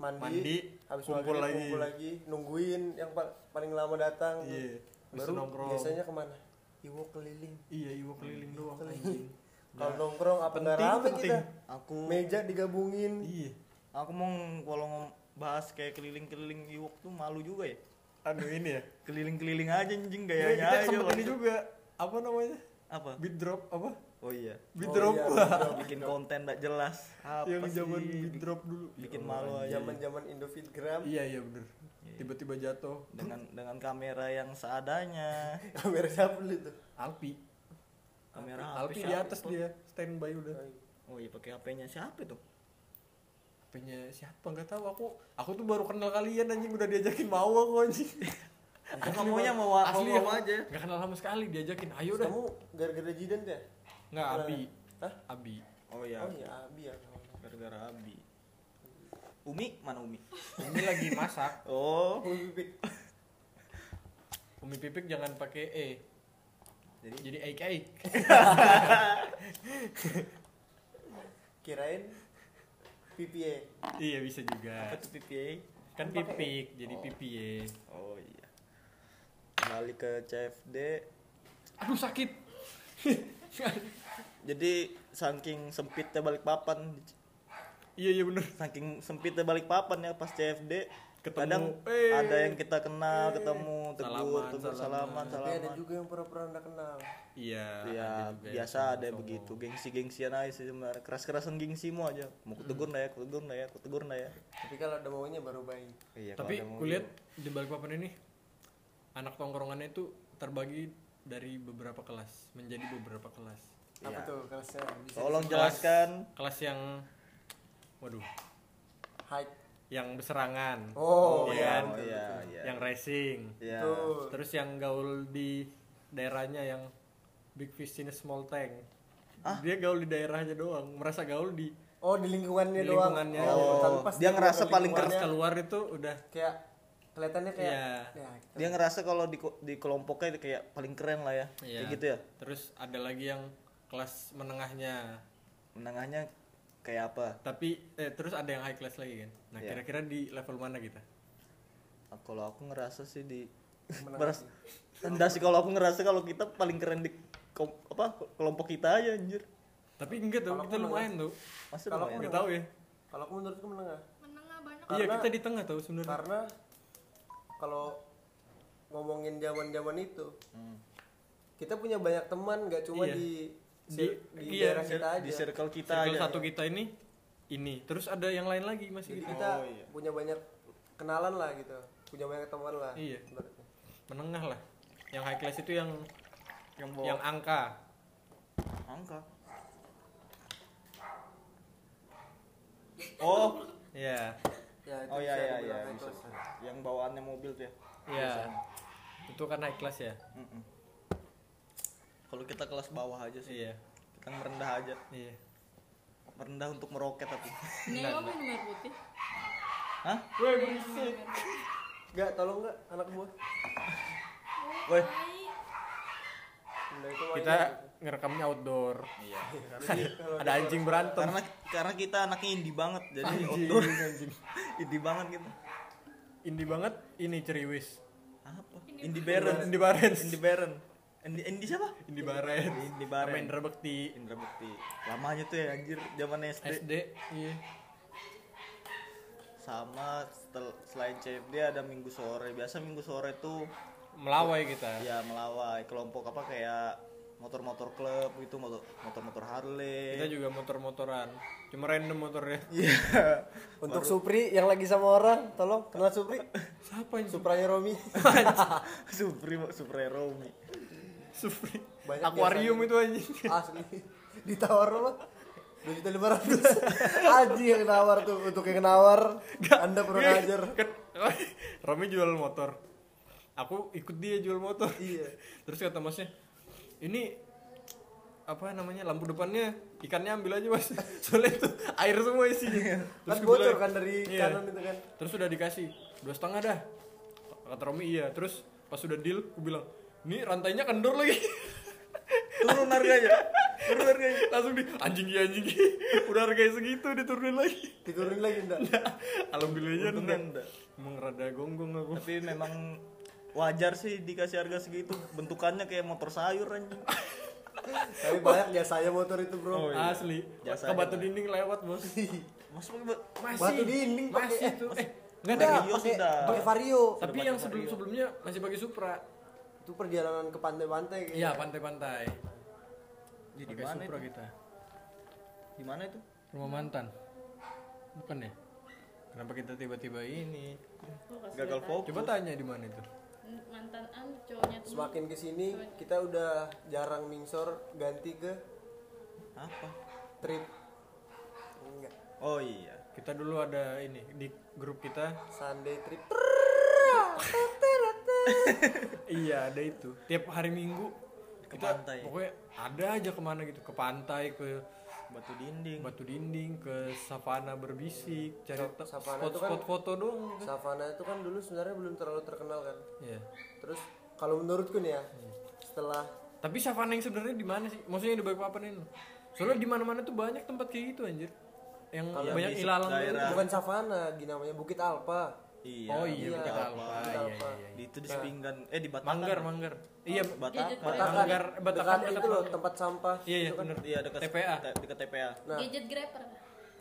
Speaker 3: mandi,
Speaker 1: mandi,
Speaker 3: habis
Speaker 1: kumpul
Speaker 3: maghrib
Speaker 1: lagi.
Speaker 3: kumpul lagi nungguin yang pa- paling lama datang tuh.
Speaker 1: iya bisa
Speaker 3: baru
Speaker 1: nongkrong
Speaker 3: biasanya kemana Iwo keliling
Speaker 1: iya iwo keliling doang
Speaker 3: keliling.
Speaker 1: anjing
Speaker 3: kalau nongkrong apa nggak
Speaker 1: Nah, Penting,
Speaker 3: rame
Speaker 1: penting.
Speaker 3: kita
Speaker 2: Aku
Speaker 3: meja digabungin
Speaker 1: iya
Speaker 2: aku mau ng- kalau ngom- bahas kayak keliling-keliling Iwok tuh malu juga ya.
Speaker 1: aduh ini ya
Speaker 2: Keliling-keliling aja anjing
Speaker 1: Iya,
Speaker 2: gayanya
Speaker 1: kita
Speaker 2: aja.
Speaker 1: sempet ini
Speaker 2: waktu-
Speaker 1: juga apa namanya
Speaker 2: Apa?
Speaker 1: beat drop apa
Speaker 2: Oh iya.
Speaker 1: beat drop
Speaker 3: Oh, iya,
Speaker 2: Bikin konten gak jelas. Apa
Speaker 1: yang zaman
Speaker 2: sih?
Speaker 1: beat drop dulu Ya
Speaker 2: Bikin malu
Speaker 1: Allah,
Speaker 2: aja.
Speaker 3: zaman zaman Indofitgram
Speaker 1: iya iya bener tiba-tiba jatuh
Speaker 2: dengan dengan kamera yang seadanya.
Speaker 3: kamera siapa dulu tuh
Speaker 1: Alpi
Speaker 2: Kamera HP
Speaker 1: Alpi di
Speaker 2: Ah, siapa
Speaker 1: atas
Speaker 2: itu?
Speaker 1: dia standby udah
Speaker 2: Oh iya pakai HP-nya siapa itu?
Speaker 1: punya siapa nggak tahu aku aku tuh baru kenal kalian anjing udah diajakin mau aku anjing
Speaker 2: Aku maunya mau mau,
Speaker 1: asli
Speaker 2: mau
Speaker 1: aku
Speaker 2: aja.
Speaker 1: nggak kenal sama sekali diajakin
Speaker 2: Iya
Speaker 1: ayo dah
Speaker 3: kamu gara-gara jidan ya
Speaker 1: nggak Abi
Speaker 3: Hah?
Speaker 1: Abi
Speaker 2: Oh iya.
Speaker 3: oh iya abi ya
Speaker 2: Gara-gara Abi. Umi mana Umi?
Speaker 1: Umi lagi masak
Speaker 2: Oh.
Speaker 3: Umi Pipik.
Speaker 1: Umi pipik jangan pakai e
Speaker 2: Jadi
Speaker 1: jadi eik eik
Speaker 3: kirain PPA
Speaker 1: iya bisa
Speaker 2: apa
Speaker 1: juga
Speaker 2: tuh PPA?
Speaker 1: kan pipik ya. jadi pipi ye
Speaker 2: Oh iya. Kembali ke CFD.
Speaker 1: aduh sakit
Speaker 2: Jadi saking sempitnya balik papan,
Speaker 1: iya iya bener
Speaker 2: saking sempitnya balik papan ya pas CFD.
Speaker 1: Ketemu.
Speaker 2: Kadang
Speaker 1: Eh.
Speaker 2: ada yang kita kenal, ketemu, tegur,
Speaker 1: Salaman,
Speaker 2: tegur,
Speaker 1: salaman.
Speaker 2: salaman,
Speaker 3: tapi ada
Speaker 2: salaman.
Speaker 3: juga yang pura-pura anda kenal
Speaker 1: iya
Speaker 2: Iya,
Speaker 1: ada juga yang
Speaker 2: biasa ada
Speaker 1: sombong.
Speaker 2: begitu. Gengsi-gengsian aja sih sebenarnya. Keras-kerasan gengsimu aja. Mau
Speaker 1: Hmm.
Speaker 2: kutegur nggak ya, kutegur nggak ya, kutegur nggak ya.
Speaker 3: tapi kalau ada maunya baru baik
Speaker 2: Iya, kalau
Speaker 1: tapi
Speaker 2: ada mau-
Speaker 1: kulihat di balik papan ini anak tongkrongannya itu terbagi dari beberapa kelas menjadi beberapa kelas
Speaker 2: Iya.
Speaker 3: apa tuh kelasnya bisa
Speaker 2: Tolong
Speaker 1: Kelas-
Speaker 2: jelaskan.
Speaker 1: kelas yang waduh
Speaker 3: hike
Speaker 1: yang berserangan
Speaker 3: Oh,
Speaker 1: iya kan?
Speaker 2: Oh, iya, iya.
Speaker 1: yang racing
Speaker 2: Iya.
Speaker 3: Tuh.
Speaker 1: terus yang gaul di daerahnya yang big fish in a small tank
Speaker 2: Ah.
Speaker 1: dia gaul di daerahnya doang merasa gaul di
Speaker 3: oh di lingkungannya
Speaker 1: Di
Speaker 3: doang
Speaker 1: lingkungannya.
Speaker 2: Oh,
Speaker 3: tapi pas
Speaker 2: dia ngerasa
Speaker 3: keluar
Speaker 2: paling
Speaker 1: pas
Speaker 3: lingkungannya,
Speaker 1: keluar itu udah
Speaker 3: kayak kelihatannya kayak
Speaker 1: Iya.
Speaker 3: ya, kita-
Speaker 2: Dia ngerasa kalau di ko- di kelompoknya dia kayak paling keren lah ya.
Speaker 1: Iya.
Speaker 2: Kayak gitu ya.
Speaker 1: terus ada lagi yang kelas menengahnya
Speaker 2: Menengahnya kayak apa?
Speaker 1: tapi eh, terus ada yang high class lagi kan nah
Speaker 2: Iya.
Speaker 1: kira-kira di level mana kita
Speaker 2: Ah, Kalau aku ngerasa sih di
Speaker 3: Menengah
Speaker 2: beras rendah sih kalau aku ngerasa kalau kita paling keren di kom- apa kelompok kita aja anjir.
Speaker 1: tapi enggak tuh
Speaker 3: Kalau
Speaker 1: kita
Speaker 3: aku
Speaker 1: lumayan tuh
Speaker 2: Masa
Speaker 3: Kalau
Speaker 2: lumayan.
Speaker 1: nggak tahu ya
Speaker 3: kalau aku menurutku menengah
Speaker 4: menengah banyak
Speaker 1: iya
Speaker 3: Karena-
Speaker 1: kita di tengah tuh sebenarnya
Speaker 3: karena kalau ngomongin zaman-zaman itu
Speaker 2: Hmm.
Speaker 3: kita punya banyak teman nggak cuma
Speaker 1: Iya.
Speaker 3: di di,
Speaker 1: Di-
Speaker 3: di
Speaker 1: iya,
Speaker 3: daerah kita aja
Speaker 2: Di circle kita
Speaker 1: circle
Speaker 2: aja. ya.
Speaker 1: satu gitu kita ini ini terus ada yang lain lagi masih gitu. kita.
Speaker 3: jadi kita
Speaker 2: Oh, iya.
Speaker 3: punya banyak kenalan lah gitu punya banyak teman lah
Speaker 1: Iya.
Speaker 3: ibaratnya.
Speaker 1: menengah lah yang high class itu yang
Speaker 2: Yang bawa
Speaker 1: yang angka
Speaker 2: angka. Oh,
Speaker 1: ya
Speaker 3: ya, itu
Speaker 2: oh ya
Speaker 3: bisa
Speaker 2: ya ya,
Speaker 3: dibilang gitu.
Speaker 2: bisa.
Speaker 3: high class.
Speaker 2: Yang bawaannya mobil tuh ya.
Speaker 1: ya itu kan high class ya
Speaker 2: Mm-mm. Kalau kita kelas bawah aja sih.
Speaker 1: iya
Speaker 2: Kita merendah aja.
Speaker 1: iya
Speaker 2: Merendah untuk meroket tapi.
Speaker 4: ini lo minum air putih
Speaker 2: Hah?
Speaker 1: Weh,
Speaker 3: nggak tolong nggak anak buah
Speaker 2: Woi.
Speaker 3: Benda itu wangi
Speaker 1: kita
Speaker 3: gitu.
Speaker 1: ngerekamnya outdoor
Speaker 2: Iya.
Speaker 3: Jadi kalau
Speaker 1: ada anjing berantem
Speaker 2: Karena karena kita anaknya indie banget. Jadi
Speaker 1: Anjing,
Speaker 2: outdoor
Speaker 1: anjing.
Speaker 2: indie banget gitu. kita.
Speaker 1: indie banget ini ceriwis
Speaker 2: Apa?
Speaker 4: Indie
Speaker 2: Indie
Speaker 1: Baron
Speaker 2: Baron.
Speaker 1: indie barens
Speaker 2: Indie Baron. Indie indie siapa?
Speaker 1: indie barens
Speaker 2: Indie Barens.
Speaker 1: main Bekti
Speaker 2: Indra Bekti. Lamanya tuh ya anjir zaman SD.
Speaker 1: SD iya
Speaker 2: Sama setel- selain CFD ada Minggu sore. Biasa Minggu sore tuh
Speaker 1: melawai kita
Speaker 2: ya melawai kelompok apa kayak motor-motor klub gitu, motor- motor-motor
Speaker 1: kita
Speaker 3: Iya.
Speaker 2: Harley.
Speaker 1: juga motor-motoran cuma random motornya
Speaker 2: Iya.
Speaker 3: untuk Supri yang lagi sama orang tolong kenal Supri
Speaker 1: siapa yang
Speaker 3: Supranya Romi
Speaker 2: Supri Supri Romi.
Speaker 1: Supri
Speaker 3: Banyak
Speaker 1: akuarium
Speaker 3: biasanya.
Speaker 1: itu anjing
Speaker 3: asli ditawar apa dua juta lima ratus aji yang nawar tuh untuk yang nawar anda pernah ngajar
Speaker 1: Kan- Romi jual motor aku ikut dia jual motor
Speaker 3: iya
Speaker 1: terus kata masnya ini apa namanya lampu depannya ikannya ambil aja mas soalnya itu air semua isinya
Speaker 3: kan
Speaker 1: gue
Speaker 3: bocor
Speaker 1: bilang,
Speaker 3: kan dari
Speaker 1: "Iya."
Speaker 3: kanan itu kan
Speaker 1: terus udah dikasih dua setengah dah kata Romi iya terus pas udah deal aku bilang ini rantainya kendor lagi
Speaker 2: Turun harganya. Turun harganya.
Speaker 1: langsung di anjing iya anjing iya." udah harganya segitu diturunin lagi
Speaker 3: diturunin lagi enggak
Speaker 1: alhamdulillahnya
Speaker 2: Untung
Speaker 1: enggak
Speaker 2: enggak.
Speaker 1: emang rada gonggong aku
Speaker 2: Tapi memang wajar sih dikasih harga segitu. Bentukannya kayak motor sayur anjing.
Speaker 3: tapi banyak jasanya motor itu
Speaker 2: Oh,
Speaker 3: bro
Speaker 2: iya.
Speaker 1: asli ke
Speaker 2: Jasa
Speaker 1: batu
Speaker 2: aja, Bang.
Speaker 1: dinding lewat bos
Speaker 2: Mas pakai ba-
Speaker 1: masih
Speaker 3: Batu dinding pakai-
Speaker 1: masih tuh eh nggak ada
Speaker 3: Enggak,
Speaker 2: Vario
Speaker 3: pakai
Speaker 2: sudah.
Speaker 3: pakai vario
Speaker 1: tapi yang sebelum sebelumnya masih pakai Supra
Speaker 3: itu perjalanan ke pantai-pantai kayak
Speaker 1: iya pantai-pantai
Speaker 2: Jadi
Speaker 1: pakai
Speaker 2: mana
Speaker 1: Supra
Speaker 2: itu?
Speaker 1: kita
Speaker 2: Di mana itu?
Speaker 1: rumah mantan bukan ya kenapa kita tiba-tiba ini
Speaker 2: Gagal fokus.
Speaker 1: coba tanya di mana itu
Speaker 4: mantan an cowoknya tuh
Speaker 3: semakin kesini kita udah jarang mingsor ganti ke
Speaker 2: Apa?
Speaker 3: trip enggak
Speaker 2: Oh iya.
Speaker 1: kita dulu ada ini di grup kita
Speaker 3: Sunday trip
Speaker 1: iya ada itu tiap hari minggu
Speaker 2: Ke
Speaker 1: kita
Speaker 2: pantai.
Speaker 1: pokoknya ada aja kemana gitu ke pantai ke
Speaker 2: Batu dinding.
Speaker 1: batu dinding ke savana berbisik cari
Speaker 3: Sa-
Speaker 1: te-
Speaker 3: savana
Speaker 1: spot
Speaker 3: itu kan-
Speaker 1: spot foto doang gitu.
Speaker 3: Savana itu kan dulu sebenarnya belum terlalu terkenal kan
Speaker 1: Iya.
Speaker 3: terus kalau menurutku nih ya setelah
Speaker 1: tapi savana yang sebenarnya di mana sih maksudnya yang di Balikpapan ini soalnya di mana mana tuh banyak tempat kayak gitu anjir yang
Speaker 2: Iya,
Speaker 1: banyak
Speaker 2: di
Speaker 1: ilalang gitu.
Speaker 2: daerah-
Speaker 3: bukan savana gini namanya Bukit Alpa
Speaker 2: Iya.
Speaker 1: oh iya,
Speaker 3: iya,
Speaker 1: Bukit
Speaker 3: apa,
Speaker 1: Alpa,
Speaker 3: Bukit
Speaker 1: iya,
Speaker 3: Alpa.
Speaker 1: iya, iya.
Speaker 2: Di itu di Sepinggan. Eh di Batangan.
Speaker 1: manggar manggar iya
Speaker 2: Oh, Batangan.
Speaker 3: Batakan
Speaker 1: Banggar- Batakan
Speaker 3: dekat
Speaker 1: dekat
Speaker 3: itu loh
Speaker 1: mana?
Speaker 3: tempat sampah
Speaker 1: iya iya bener
Speaker 2: Iya dekat
Speaker 1: TPA.
Speaker 2: te- Dekat TPA.
Speaker 3: Nah.
Speaker 4: gadget grabber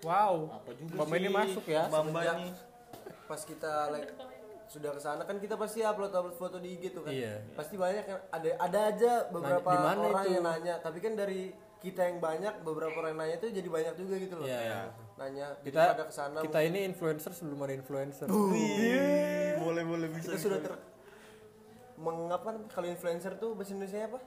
Speaker 1: wow
Speaker 2: Apa juga
Speaker 1: Bamba ini
Speaker 2: sih?
Speaker 1: masuk ya
Speaker 2: Bamba
Speaker 3: semenjak-
Speaker 2: ini.
Speaker 3: pas kita like sudah ke sana kan kita pasti upload upload foto di IG tuh kan
Speaker 1: Iya.
Speaker 3: pasti banyak yang ada ada aja beberapa
Speaker 1: di mana
Speaker 3: orang
Speaker 1: itu?
Speaker 3: yang nanya tapi kan dari kita yang banyak beberapa orang yang nanya tuh jadi banyak juga gitu loh
Speaker 1: Iya, iya.
Speaker 3: nanya
Speaker 1: kita
Speaker 3: ada kesana
Speaker 1: kita ini influencer sebelum ada influencer
Speaker 2: Wih, boleh boleh bisa.
Speaker 3: kita sudah ter mengapa kan kalau influencer tuh bahasa Indonesia apa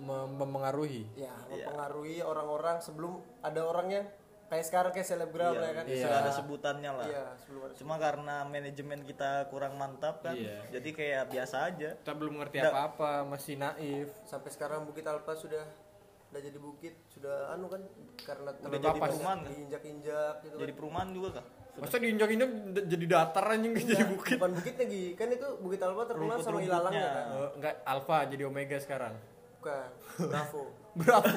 Speaker 1: Mem- mempengaruhi
Speaker 3: ya mempengaruhi orang-orang sebelum ada orang yang kayak sekarang kayak selebgram
Speaker 2: Iya,
Speaker 3: lah ya kan
Speaker 2: iya.
Speaker 3: Bisa-
Speaker 2: ada sebutannya lah.
Speaker 3: iya sebelum ada
Speaker 2: Cuma karena manajemen kita kurang mantap kan,
Speaker 1: Iya.
Speaker 2: jadi kayak biasa aja.
Speaker 1: kita belum ngerti
Speaker 2: Nggak.
Speaker 1: apa-apa masih naif
Speaker 3: sampai sekarang Bukit Alpa sudah udah jadi bukit sudah anu kan karena terlalu
Speaker 1: jadi
Speaker 3: banyak
Speaker 1: perumahan kan?
Speaker 3: diinjak-injak gitu
Speaker 2: Jadi
Speaker 3: kan.
Speaker 2: perumahan juga kah?
Speaker 1: masa diinjak-injak d- jadi datar anjing jadi bukit
Speaker 3: bukan bukit lagi kan itu Bukit Alpa terkenal sama
Speaker 2: Rumput-rumputnya.
Speaker 3: ilalangnya kan
Speaker 1: Eh, enggak alfa jadi omega sekarang
Speaker 3: bukan Bravo
Speaker 1: berapa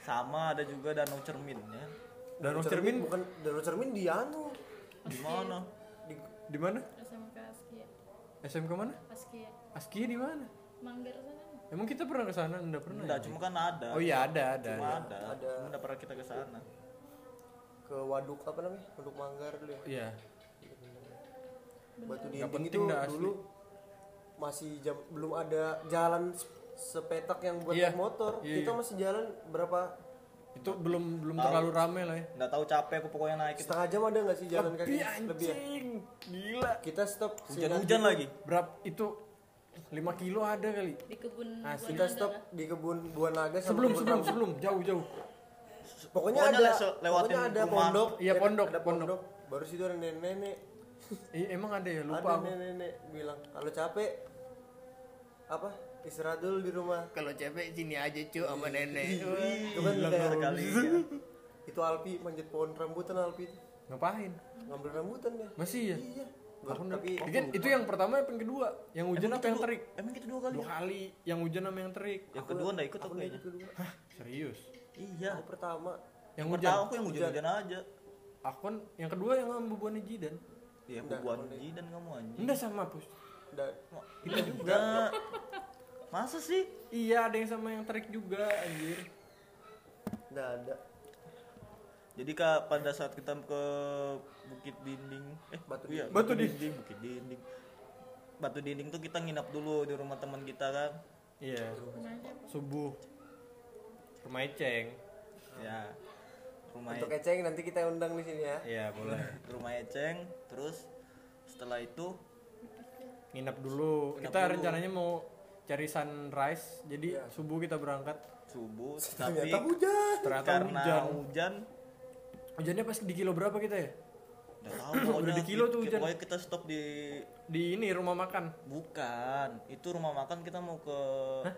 Speaker 2: Sama ada juga danau cermin ya.
Speaker 1: danau cermin
Speaker 3: bukan danau cermin di anu
Speaker 2: Di mana?
Speaker 3: di
Speaker 1: di mana
Speaker 4: SMK Askia
Speaker 1: smk mana
Speaker 4: Askia
Speaker 1: askia di mana
Speaker 4: Manggar sana
Speaker 1: emang kita pernah ke sana enggak pernah
Speaker 2: Enggak,
Speaker 1: ya?
Speaker 2: cuma kan ada.
Speaker 1: oh iya ada ada
Speaker 2: Cuma ada.
Speaker 3: Ada.
Speaker 2: Cuma enggak pernah kita ke sana.
Speaker 3: ke waduk apa namanya waduk manggar dulu ya
Speaker 1: iya
Speaker 3: batu
Speaker 1: Nggak
Speaker 3: dinding itu
Speaker 1: penting dah, asli.
Speaker 3: dulu masih jam- belum ada jalan se- sepetak yang buat
Speaker 1: Iya.
Speaker 3: naik motor
Speaker 1: Iya,
Speaker 3: kita
Speaker 1: iya.
Speaker 3: masih jalan berapa
Speaker 1: itu belum belum
Speaker 2: Tahu.
Speaker 1: terlalu rame lah ya
Speaker 2: Enggak tahu capek aku pokoknya naik itu.
Speaker 3: setengah jam ada nggak sih jalan kaki
Speaker 1: lebih
Speaker 3: ya?
Speaker 1: anjing gila
Speaker 3: kita stop
Speaker 2: Hujan-hujan
Speaker 3: seingat-
Speaker 2: lagi.
Speaker 1: berapa itu 5 kilo ada kali
Speaker 4: di kebun
Speaker 1: Ah,
Speaker 4: buah
Speaker 3: Nah, kita
Speaker 4: naga
Speaker 3: stop
Speaker 4: Iya, lah.
Speaker 3: di kebun buah naga sama
Speaker 1: sebelum
Speaker 3: kebun
Speaker 1: sebelum
Speaker 3: mangga.
Speaker 1: sebelum jauh jauh
Speaker 3: pokoknya,
Speaker 2: Pokoknya
Speaker 3: ada
Speaker 2: le- lewatin
Speaker 3: pokoknya ada
Speaker 2: rumah.
Speaker 3: pondok
Speaker 1: Iya,
Speaker 3: ada-
Speaker 1: pondok,
Speaker 3: ada
Speaker 1: pondok.
Speaker 3: pondok, baru situ ada nenek nenek
Speaker 1: Eh, emang ada ya
Speaker 3: ada
Speaker 1: lupa aku
Speaker 3: nenek nenek bilang kalau capek apa istirahat dulu di rumah
Speaker 1: kalau capek sini aja cu sama nenek
Speaker 3: itu kan
Speaker 2: Hilang
Speaker 3: kayak-
Speaker 2: sekali. ya.
Speaker 3: itu Alpi manjat pohon rambutan Alpi itu.
Speaker 1: ngapain
Speaker 3: ngambil rambutan ya
Speaker 1: masih ya
Speaker 3: iya
Speaker 1: Aku
Speaker 3: Baru- tapi
Speaker 1: nggak- Kan itu yang pertama apa yang kedua yang hujan apa yang terik
Speaker 2: Emang kita dua kali. ya?
Speaker 1: dua kali yang hujan sama yang terik
Speaker 2: Yang kedua enggak ikut
Speaker 3: aku
Speaker 2: aku
Speaker 3: naik
Speaker 2: kayaknya.
Speaker 3: kedua
Speaker 1: serius
Speaker 2: Iya.
Speaker 3: aku pertama
Speaker 1: yang
Speaker 2: Pertama
Speaker 1: hujan
Speaker 2: aku yang hujan-hujan aja.
Speaker 1: aku kan yang kedua yang sama bubuan jidan
Speaker 2: Iya, aku
Speaker 3: Enggak,
Speaker 2: buat
Speaker 3: aku naik.
Speaker 2: dan kamu anjing.
Speaker 1: enggak sama pus
Speaker 3: dan
Speaker 2: Kita juga. Masa sih?
Speaker 1: iya ada yang sama yang terik juga anjir
Speaker 3: nggak ada
Speaker 2: Jadi kak pada saat kita ke Bukit Dinding, eh
Speaker 3: Batu
Speaker 2: iya,
Speaker 1: Dinding. Batu Dinding.
Speaker 2: Bukit Dinding, Batu Dinding tuh kita nginap dulu di rumah teman kita kan.
Speaker 1: iya
Speaker 4: Nanya,
Speaker 1: subuh rumah ceng
Speaker 2: Ya, rumah
Speaker 3: untuk eceng nanti kita undang di sini ya
Speaker 1: iya boleh
Speaker 2: rumah Eceng. Terus setelah itu
Speaker 1: nginap dulu
Speaker 2: Nginap
Speaker 1: kita
Speaker 2: dulu.
Speaker 1: rencananya mau cari sunrise jadi
Speaker 3: Iya.
Speaker 1: subuh kita berangkat
Speaker 2: subuh, tapi
Speaker 3: ternyata hujan
Speaker 1: ternyata
Speaker 2: karena
Speaker 1: hujan
Speaker 2: hujan,
Speaker 1: hujannya pas di kilo berapa kita ya
Speaker 2: nggak tahu pokoknya
Speaker 1: di kilo
Speaker 2: ki-
Speaker 1: tuh
Speaker 2: ki-
Speaker 1: hujan.
Speaker 2: Pokoknya kita stop di
Speaker 1: di ini rumah makan
Speaker 2: bukan itu rumah makan kita mau ke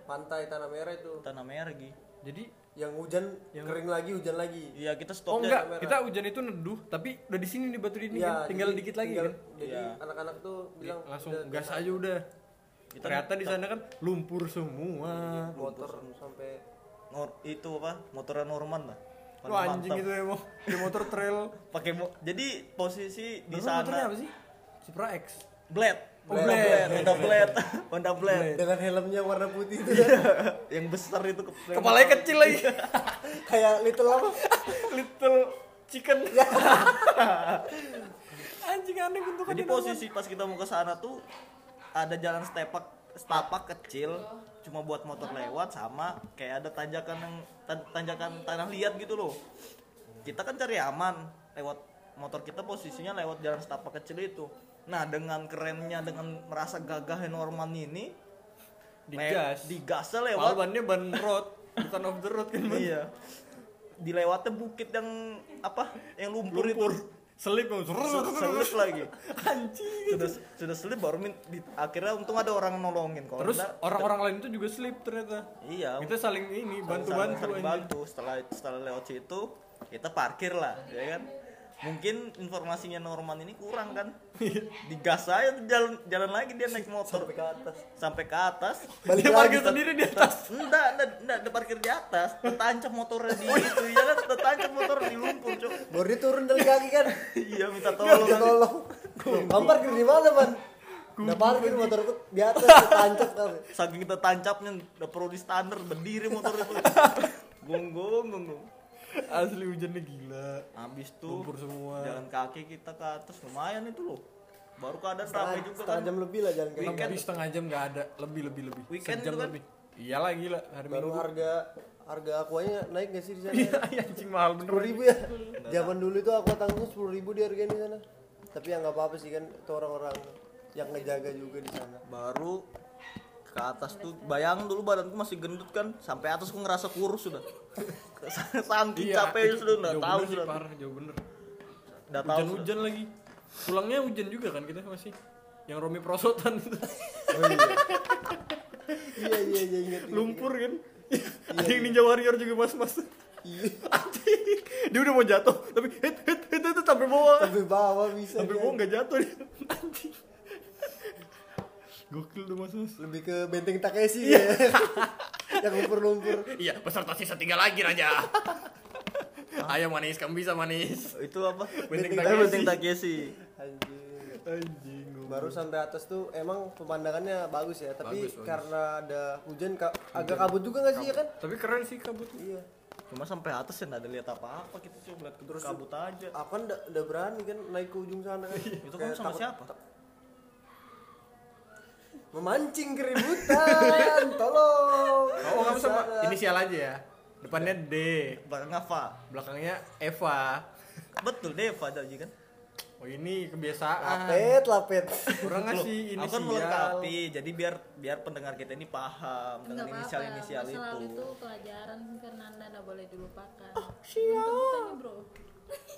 Speaker 3: pantai tanah merah itu
Speaker 2: Tanah Merah Gi.
Speaker 1: jadi
Speaker 3: yang hujan kering lagi hujan lagi
Speaker 2: Iya kita
Speaker 1: oh
Speaker 2: stop
Speaker 1: enggak kita hujan itu neduh tapi udah di sini di batu ini
Speaker 2: Ya,
Speaker 3: Iya,
Speaker 1: kan? tinggal
Speaker 3: jadi-
Speaker 1: dikit lagi
Speaker 3: tinggal-
Speaker 1: kan
Speaker 3: jadi
Speaker 2: Iya.
Speaker 3: anak-anak tuh bilang
Speaker 1: langsung
Speaker 3: udah,
Speaker 1: gas aja udah
Speaker 2: Kita- Iya.
Speaker 1: ternyata di sana kan lumpur semua
Speaker 3: motor sampai
Speaker 2: Nor- itu apa motoran Norman lah
Speaker 1: lu anjing itu emang di motor trail
Speaker 2: pakai mo- jadi posisi di
Speaker 1: Dulu motornya
Speaker 2: sana
Speaker 1: apa sih Supra X
Speaker 2: blade
Speaker 1: Oh,
Speaker 2: Honda
Speaker 1: Blade.
Speaker 2: Blade. Honda Blade Honda Blade
Speaker 3: dengan helmnya warna putih itu
Speaker 2: yang besar itu ke
Speaker 1: kepalanya kecil lagi
Speaker 3: kayak little apa
Speaker 1: little chicken anjing aneh bentukannya
Speaker 2: jadi posisi pas kita mau ke sana tuh ada jalan stepak setapak kecil cuma buat motor lewat sama kayak ada tanjakan yang tan- tanjakan tanah liat gitu loh kita kan cari aman lewat motor kita posisinya lewat jalan setapak kecil itu nah dengan kerennya dengan merasa gagahnya Norman ini
Speaker 1: Digas.
Speaker 2: le- digasnya
Speaker 1: Padahal
Speaker 2: lewat
Speaker 1: bannya ban road bukan off the road kan ban
Speaker 2: iya dilewatnya bukit yang apa yang lumpur,
Speaker 1: lumpur
Speaker 2: itu
Speaker 1: selip kan. yang
Speaker 2: Se- selip lagi
Speaker 1: anjing
Speaker 2: sudah sudah selip baru min, di- akhirnya untung ada orang nolongin kalau
Speaker 1: terus
Speaker 2: enggak-
Speaker 1: orang-orang lain itu juga selip ternyata
Speaker 2: iya
Speaker 1: kita saling ini
Speaker 2: saling-
Speaker 1: bantu-bantu
Speaker 2: saling
Speaker 1: anjing
Speaker 2: bantu setelah setelah lewat situ kita parkir lah ya kan mungkin informasinya Norman ini kurang kan digas aja tuh jalan jalan lagi dia naik motor
Speaker 3: sampai ke atas
Speaker 2: sampai ke atas
Speaker 1: dia
Speaker 3: Balik
Speaker 1: parkir
Speaker 2: lagi.
Speaker 1: sendiri di atas
Speaker 2: enggak enggak enggak dia parkir di atas tertancap motornya di itu ya kan tertancap motor di lumpur cok
Speaker 3: baru dia turun dari kaki kan
Speaker 2: iya minta tolong
Speaker 3: Minta tolong kamu parkir di mana man udah parkir motorku di atas tancap kan. kali
Speaker 2: saking kita tancapnya udah perlu di standar berdiri motor itu gonggong gonggong
Speaker 1: asli hujannya gila
Speaker 2: habis tuh
Speaker 1: Lumpur semua.
Speaker 2: jalan kaki kita ke atas lumayan itu loh baru keadaan ramai
Speaker 3: setengah
Speaker 2: juga kan
Speaker 3: setengah jam lebih lah jalan kaki
Speaker 1: lebih setengah jam nggak ada lebih lebih lebih
Speaker 2: Weekend
Speaker 1: Sejam
Speaker 2: itu kan?
Speaker 1: lebih iyalah gila hari
Speaker 3: baru
Speaker 1: minggu
Speaker 3: harga harga akuanya naik gak sih di sana
Speaker 1: iya iya, anjing mahal bener
Speaker 3: sepuluh ribu ya zaman dulu itu aku tanggung sepuluh ribu di harganya di sana tapi ya nggak apa-apa sih kan itu orang-orang yang ngejaga juga di sana
Speaker 2: baru ke atas tuh bayang dulu badanku masih gendut kan sampai atas aku ngerasa kurus sudah Saking capek sudah nggak
Speaker 1: Iya, jauh
Speaker 2: tahu
Speaker 1: bener sih,
Speaker 2: sudah.
Speaker 1: parah jauh bener
Speaker 2: Nggak tahu. sudah.
Speaker 1: hujan-hujan lagi pulangnya hujan juga kan kita masih yang Romi prosotan itu
Speaker 3: iya iya iya ingat ingat.
Speaker 1: lumpur kan anjing ninja warrior juga mas-mas Iya. anjing dia udah mau jatuh tapi hit hit hit itu sampai bawah
Speaker 3: sampai bawah bisa
Speaker 1: sampai
Speaker 3: kan.
Speaker 1: bawah nggak jatuh dia anjing gokil tuh mas-mas
Speaker 3: lebih ke benteng Takeshi ya yang lumpur-lumpur
Speaker 1: iya peserta sisa tiga lagi raja ayo manis kamu bisa manis
Speaker 2: Itu apa?
Speaker 1: Benteng
Speaker 2: Eh, Benteng
Speaker 1: Takeshi.
Speaker 2: Takeshi.
Speaker 3: anjir
Speaker 1: anjing
Speaker 3: baru sampai atas tuh emang pemandangannya bagus ya tapi
Speaker 1: Bagus, bagus.
Speaker 3: karena ada hujan ka- agak kabut juga nggak sih ya kan
Speaker 1: tapi keren sih kabut
Speaker 3: iya
Speaker 2: Cuma sampai atas ya nggak ada lihat apa-apa kita cuma lihat kabut, kabut aja.
Speaker 3: aku kan udah udah berani kan naik ke ujung sana kan
Speaker 1: Iya.
Speaker 2: Itu kamu sama siapa?
Speaker 3: memancing keributan tolong
Speaker 1: oh kamu sama
Speaker 3: Sarah.
Speaker 1: inisial aja ya depannya D
Speaker 2: Belakang apa?
Speaker 1: belakangnya Eva
Speaker 2: Betul Deva tadi kan.
Speaker 1: oh ini kebiasaan
Speaker 3: lapet lapet
Speaker 1: kurang ngasih
Speaker 2: Aku kan
Speaker 1: inisial
Speaker 2: melengkapi. Jadi biar biar pendengar kita ini paham
Speaker 4: Nggak
Speaker 2: dengan inisial-inisial
Speaker 4: masa lalu
Speaker 2: itu. Ah,
Speaker 4: itu pelajaran Fernanda nggak boleh dilupakan. siap. Bukannya bro.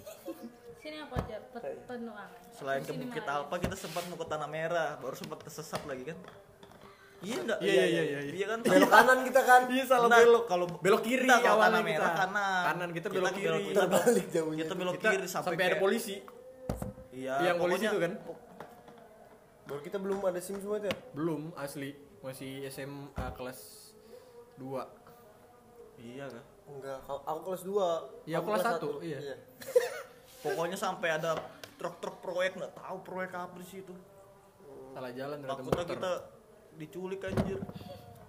Speaker 4: Sini aku ajar pe- penuangan.
Speaker 2: Selain ke
Speaker 4: Sini
Speaker 2: Bukit
Speaker 4: Malayan.
Speaker 2: Alpa kita sempat mau ke Tanah Merah, baru sempat kesesat lagi kan. Iya enggak?
Speaker 1: Iya, iya, iya, iya.
Speaker 2: Iya kan?
Speaker 3: belok kanan kita kan
Speaker 1: iya salah
Speaker 2: Nah,
Speaker 1: belok
Speaker 2: kalau
Speaker 1: belok kiri
Speaker 2: kita kalau
Speaker 1: awalnya
Speaker 2: tanah merah
Speaker 1: kita.
Speaker 2: kanan.
Speaker 1: kanan kita belok
Speaker 2: Kita
Speaker 1: kiri
Speaker 2: belok kiri.
Speaker 3: terbalik jauhnya
Speaker 2: Kita belok
Speaker 1: Kita
Speaker 2: kiri sampai,
Speaker 1: sampai ada
Speaker 2: kayak-
Speaker 1: polisi
Speaker 2: Iya,
Speaker 1: yang polisi
Speaker 2: pokoknya-
Speaker 1: itu kan
Speaker 3: baru kita belum ada sim semua tuh ya?
Speaker 1: belum asli masih SMA kelas 2
Speaker 2: Iya kan.
Speaker 3: enggak kau- aku kelas 2
Speaker 1: Iya, aku kelas satu, iya.
Speaker 2: Pokoknya sampai ada truk-truk proyek nggak tahu proyek apa di situ.
Speaker 1: salah jalan ternyata
Speaker 2: Takutnya
Speaker 1: muter.
Speaker 2: kita diculik anjir.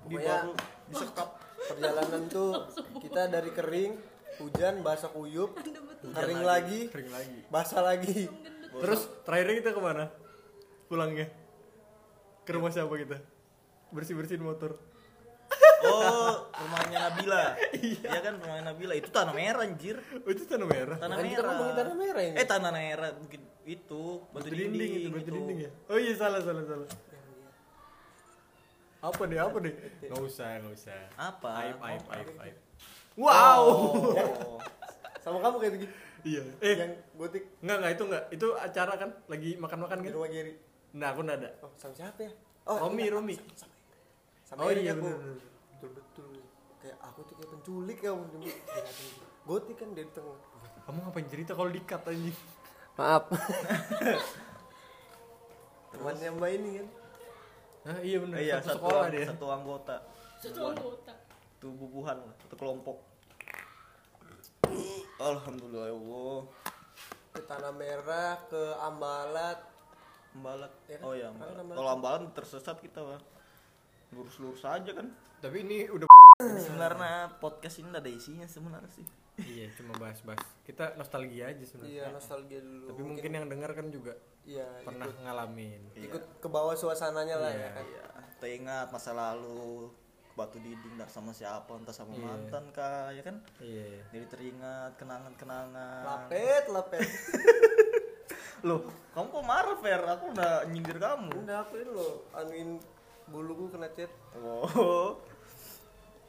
Speaker 2: Di
Speaker 3: Pokoknya-
Speaker 2: baru disekap.
Speaker 3: perjalanan tuh kita dari kering hujan basah kuyup
Speaker 2: gitu.
Speaker 3: kering lagi
Speaker 1: kering lagi
Speaker 3: basah lagi
Speaker 1: terus terakhirnya kita kemana pulangnya ke rumah
Speaker 2: Ya.
Speaker 1: siapa kita bersih bersihin motor
Speaker 2: Oh, rumahnya Nabila. Iya kan rumahnya Nabila. Itu tanah merah anjir.
Speaker 1: oh, itu tanah merah
Speaker 2: Tanah
Speaker 3: Bukan
Speaker 2: merah.
Speaker 3: kita ngomongin tanah merah ini.
Speaker 2: Eh tanah merah bukit itu batu, dinding,
Speaker 1: itu batu
Speaker 2: gitu.
Speaker 1: dinding ya oh iya salah salah salah apa deh apa deh nggak usah nggak usah
Speaker 2: Apa?
Speaker 1: aib aib aib aib wow
Speaker 2: Oh.
Speaker 3: sama kamu kayak begitu
Speaker 1: iya eh
Speaker 3: yang gotik
Speaker 1: nggak nggak itu nggak itu acara kan lagi makan makan
Speaker 3: di
Speaker 1: kan
Speaker 3: rumah Giri
Speaker 1: nah aku nggak ada
Speaker 3: oh sama siapa ya
Speaker 1: Romi
Speaker 2: Oh,
Speaker 3: iya.
Speaker 1: Romi
Speaker 3: sama
Speaker 1: Oh,
Speaker 3: Erik
Speaker 1: iya,
Speaker 3: aku
Speaker 1: bener, bener.
Speaker 3: betul betul kayak aku tuh kayak penculik ya Om. gotik kan dari tengah
Speaker 1: kamu ngapain cerita kalau dikat anjing
Speaker 3: maaf temannya mbak ini kan
Speaker 1: Hah, iya benar
Speaker 2: Eh, iya,
Speaker 1: satu
Speaker 2: satu,
Speaker 1: sekolah
Speaker 2: ang-
Speaker 1: dia
Speaker 2: satu anggota.
Speaker 4: Satu anggota.
Speaker 2: Satu bubuhan, lah, satu kelompok. Alhamdulillah ya Allah.
Speaker 3: ke tanah merah ke ambalat
Speaker 2: Ambalat.
Speaker 3: Ya kan?
Speaker 2: Oh iya,
Speaker 3: Kan
Speaker 2: ambalat.
Speaker 3: ambalat.
Speaker 2: Kalau ambalan tersesat kita, Bang. Lurus-lurus aja kan.
Speaker 1: tapi ini udah
Speaker 2: sebenarnya podcast ini nggak ada isinya sebenarnya sih.
Speaker 1: iya cuma bahas-bahas kita nostalgia aja
Speaker 3: iya
Speaker 1: sebenarnya
Speaker 3: nostalgia dulu
Speaker 1: tapi mungkin gitu. yang dengar kan juga
Speaker 3: iya
Speaker 1: pernah
Speaker 3: ikut,
Speaker 1: ngalamin
Speaker 3: ikut ke bawah suasananya lah ya
Speaker 1: Iya.
Speaker 3: kan
Speaker 2: Iya, teringat masa lalu batu dinding nggak sama siapa entah sama
Speaker 1: Iya.
Speaker 2: mantan kah ya kan
Speaker 1: iya
Speaker 2: jadi teringat kenangan-kenangan
Speaker 3: lapet lapet
Speaker 2: loh kamu kok marah Fer aku udah nyindir kamu
Speaker 3: udah aku ini loh anuin bulu gue kena cet
Speaker 2: oh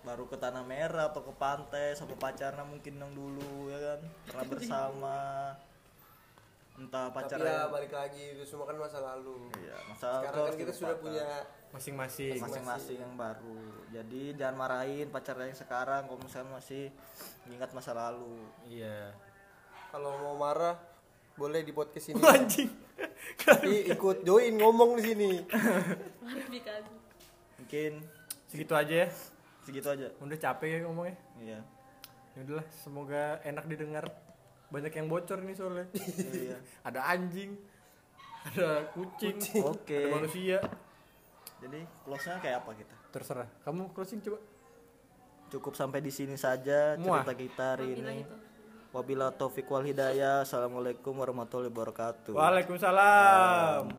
Speaker 2: baru ke tanah merah atau ke pantai sama pacarnya mungkin yang dulu ya kan pernah bersama entah
Speaker 3: tapi ya
Speaker 2: pacarnya
Speaker 3: balik lagi itu semua kan masa lalu
Speaker 2: iya masa
Speaker 3: sekarang
Speaker 2: itu
Speaker 3: kan
Speaker 2: harus
Speaker 3: kita sudah
Speaker 2: dilupakan.
Speaker 3: punya
Speaker 1: masing-masing
Speaker 2: masing-masing yang baru jadi jangan marahin pacarnya yang sekarang kalau misalnya masih ingat masa lalu
Speaker 1: iya
Speaker 3: kalau mau marah boleh di podcast ini
Speaker 1: anjing
Speaker 3: tapi ikut join ngomong di sini
Speaker 4: Klarifikasi.
Speaker 2: mungkin
Speaker 1: segitu aja ya
Speaker 2: segitu aja
Speaker 1: udah capek ya ngomongnya
Speaker 2: iya
Speaker 1: ya udahlah semoga enak didengar banyak yang bocor nih soalnya
Speaker 2: iya
Speaker 1: ada anjing ada kucing,
Speaker 2: Oke.
Speaker 1: ada manusia
Speaker 2: jadi close nya kayak apa kita
Speaker 1: terserah kamu closing coba
Speaker 2: cukup sampai di sini saja
Speaker 1: Muah.
Speaker 2: cerita kita hari ini Wabila Taufik wal Hidayah Assalamualaikum warahmatullahi wabarakatuh
Speaker 1: waalaikumsalam